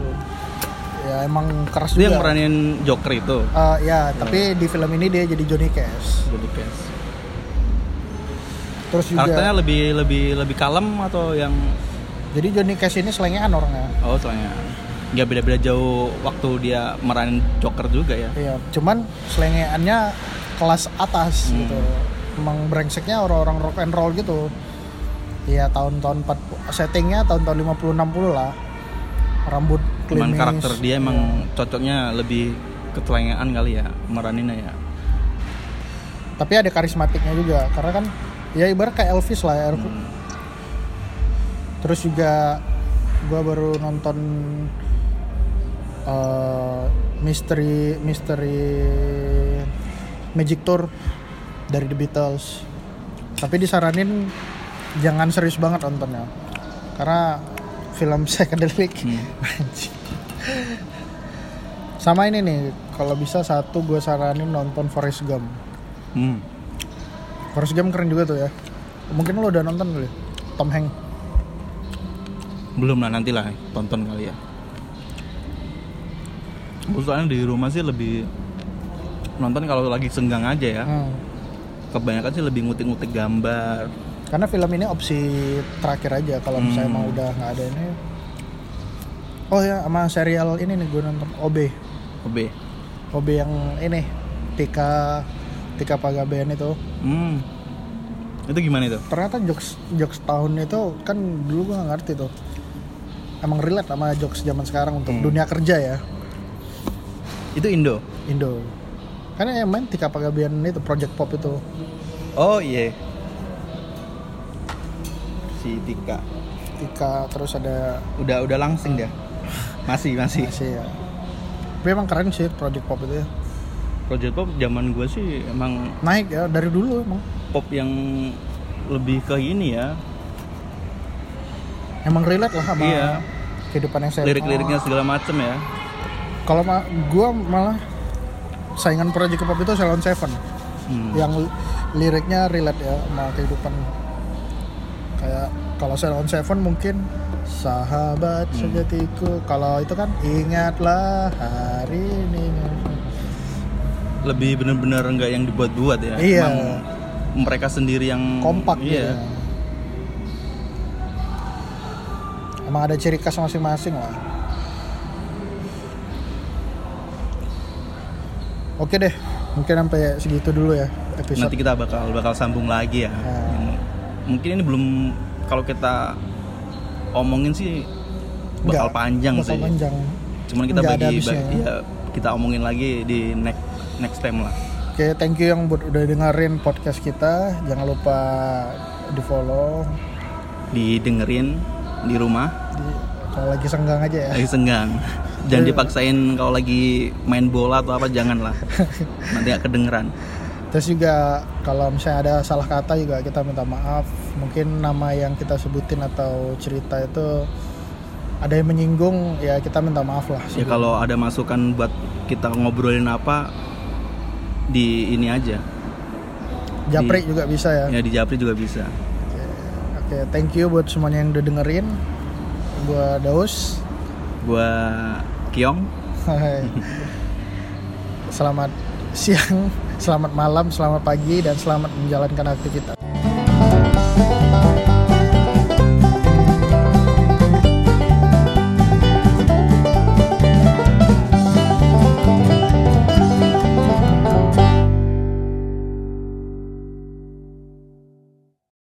[SPEAKER 1] Ya emang keras
[SPEAKER 2] Dia yang
[SPEAKER 1] juga.
[SPEAKER 2] meranin Joker itu.
[SPEAKER 1] Uh, ya, tapi di film ini dia jadi Johnny Cash.
[SPEAKER 2] Johnny Cash.
[SPEAKER 1] Terus juga
[SPEAKER 2] Karakternya lebih lebih lebih kalem atau yang
[SPEAKER 1] Jadi Johnny Cash ini selengean orangnya.
[SPEAKER 2] oh soalnya nggak beda-beda jauh waktu dia meranin Joker juga ya.
[SPEAKER 1] Iya, cuman selengeannya kelas atas
[SPEAKER 2] Hmm.
[SPEAKER 1] gitu. Emang brengseknya orang-orang rock and roll gitu. Iya, tahun-tahun 40 settingnya tahun-tahun 50 60 lah. Rambut
[SPEAKER 2] Cuman
[SPEAKER 1] klimis.
[SPEAKER 2] karakter dia
[SPEAKER 1] Iya.
[SPEAKER 2] emang cocoknya lebih ketelengaan kali ya meraninnya ya.
[SPEAKER 1] Tapi ada karismatiknya juga karena kan ya ibarat kayak Elvis lah. ya. Terus juga gua baru nonton eh, misteri misteri Magic Tour dari The Beatles. Tapi disaranin jangan serius banget nontonnya. Karena film psychedelic. Anjing. Sama ini nih, kalau bisa satu gue saranin nonton Forrest Gump.
[SPEAKER 2] Hmm.
[SPEAKER 1] Forrest Gump keren juga tuh ya. Mungkin lo udah nonton kali. ya? Tom Hanks.
[SPEAKER 2] belum lah nanti lah tonton kali ya Gua soalnya di rumah sih lebih nonton kalau lagi senggang aja ya
[SPEAKER 1] Hmm.
[SPEAKER 2] kebanyakan sih lebih ngutik-ngutik gambar
[SPEAKER 1] karena film ini opsi terakhir aja kalau misalnya
[SPEAKER 2] Hmm.
[SPEAKER 1] emang udah nggak ada ini oh ya sama serial ini nih gue nonton OB
[SPEAKER 2] OB.
[SPEAKER 1] OB yang ini Tika Tika Pagabean itu
[SPEAKER 2] Hmm. Itu gimana itu?
[SPEAKER 1] ternyata jokes jokes tahun itu kan dulu gue nggak ngerti tuh emang relate sama jokes zaman sekarang untuk
[SPEAKER 2] Hmm.
[SPEAKER 1] dunia kerja ya
[SPEAKER 2] Itu Indo.
[SPEAKER 1] Indo karena yang main Tika Pagabean itu Project Pop itu
[SPEAKER 2] Oh iya. Si Tika.
[SPEAKER 1] Tika terus ada
[SPEAKER 2] Udah udah langsing dia. Masih masih.
[SPEAKER 1] masih ya tapi emang keren sih Project Pop itu ya.
[SPEAKER 2] Project Pop zaman gue sih emang
[SPEAKER 1] naik ya dari dulu emang
[SPEAKER 2] pop yang lebih ke ini ya.
[SPEAKER 1] emang relate lah sama
[SPEAKER 2] Iya.
[SPEAKER 1] kehidupan yang saya
[SPEAKER 2] Lirik-liriknya segala macem ya.
[SPEAKER 1] kalau ma- gue malah saingan Project Pop itu Salon Seven
[SPEAKER 2] Hmm.
[SPEAKER 1] yang li- liriknya relate ya sama kehidupan kayak kalau Salon Seven mungkin sahabat
[SPEAKER 2] Hmm.
[SPEAKER 1] sejatiku kalau itu kan ingatlah hari ini
[SPEAKER 2] Lebih bener-bener nggak yang dibuat-buat ya.
[SPEAKER 1] Iya.
[SPEAKER 2] Emang mereka sendiri yang
[SPEAKER 1] kompak gitu
[SPEAKER 2] Iya.
[SPEAKER 1] emang ada ciri khas masing-masing lah oke deh mungkin sampai segitu dulu ya episode
[SPEAKER 2] Nanti kita bakal bakal sambung lagi ya.
[SPEAKER 1] Hmm.
[SPEAKER 2] Mungkin ini belum kalau kita omongin sih
[SPEAKER 1] Nggak,
[SPEAKER 2] bakal panjang
[SPEAKER 1] bakal
[SPEAKER 2] sih.
[SPEAKER 1] panjang
[SPEAKER 2] Cuman kita
[SPEAKER 1] Nggak ada
[SPEAKER 2] bagi,
[SPEAKER 1] habisnya.
[SPEAKER 2] bagi- ya, kita omongin lagi di next next time lah.
[SPEAKER 1] oke thank you yang buat udah dengerin podcast kita jangan lupa di follow
[SPEAKER 2] Didengerin di rumah
[SPEAKER 1] di, kalau lagi senggang aja ya Iya.
[SPEAKER 2] lagi senggang. Jangan dipaksain kalau lagi main bola atau apa jangan lah. Nanti nggak kedengeran.
[SPEAKER 1] terus juga kalau misalnya ada salah kata juga kita minta maaf mungkin nama yang kita sebutin atau cerita itu ada yang menyinggung ya kita minta maaf lah
[SPEAKER 2] Ya kalau ada masukan buat kita ngobrolin apa di ini aja.
[SPEAKER 1] japri juga bisa ya
[SPEAKER 2] Ya di Japri juga bisa.
[SPEAKER 1] oke thank you buat semuanya yang udah dengerin gua Daus
[SPEAKER 2] Gua Kiong
[SPEAKER 1] Hai. selamat siang selamat malam selamat pagi dan selamat menjalankan aktivitas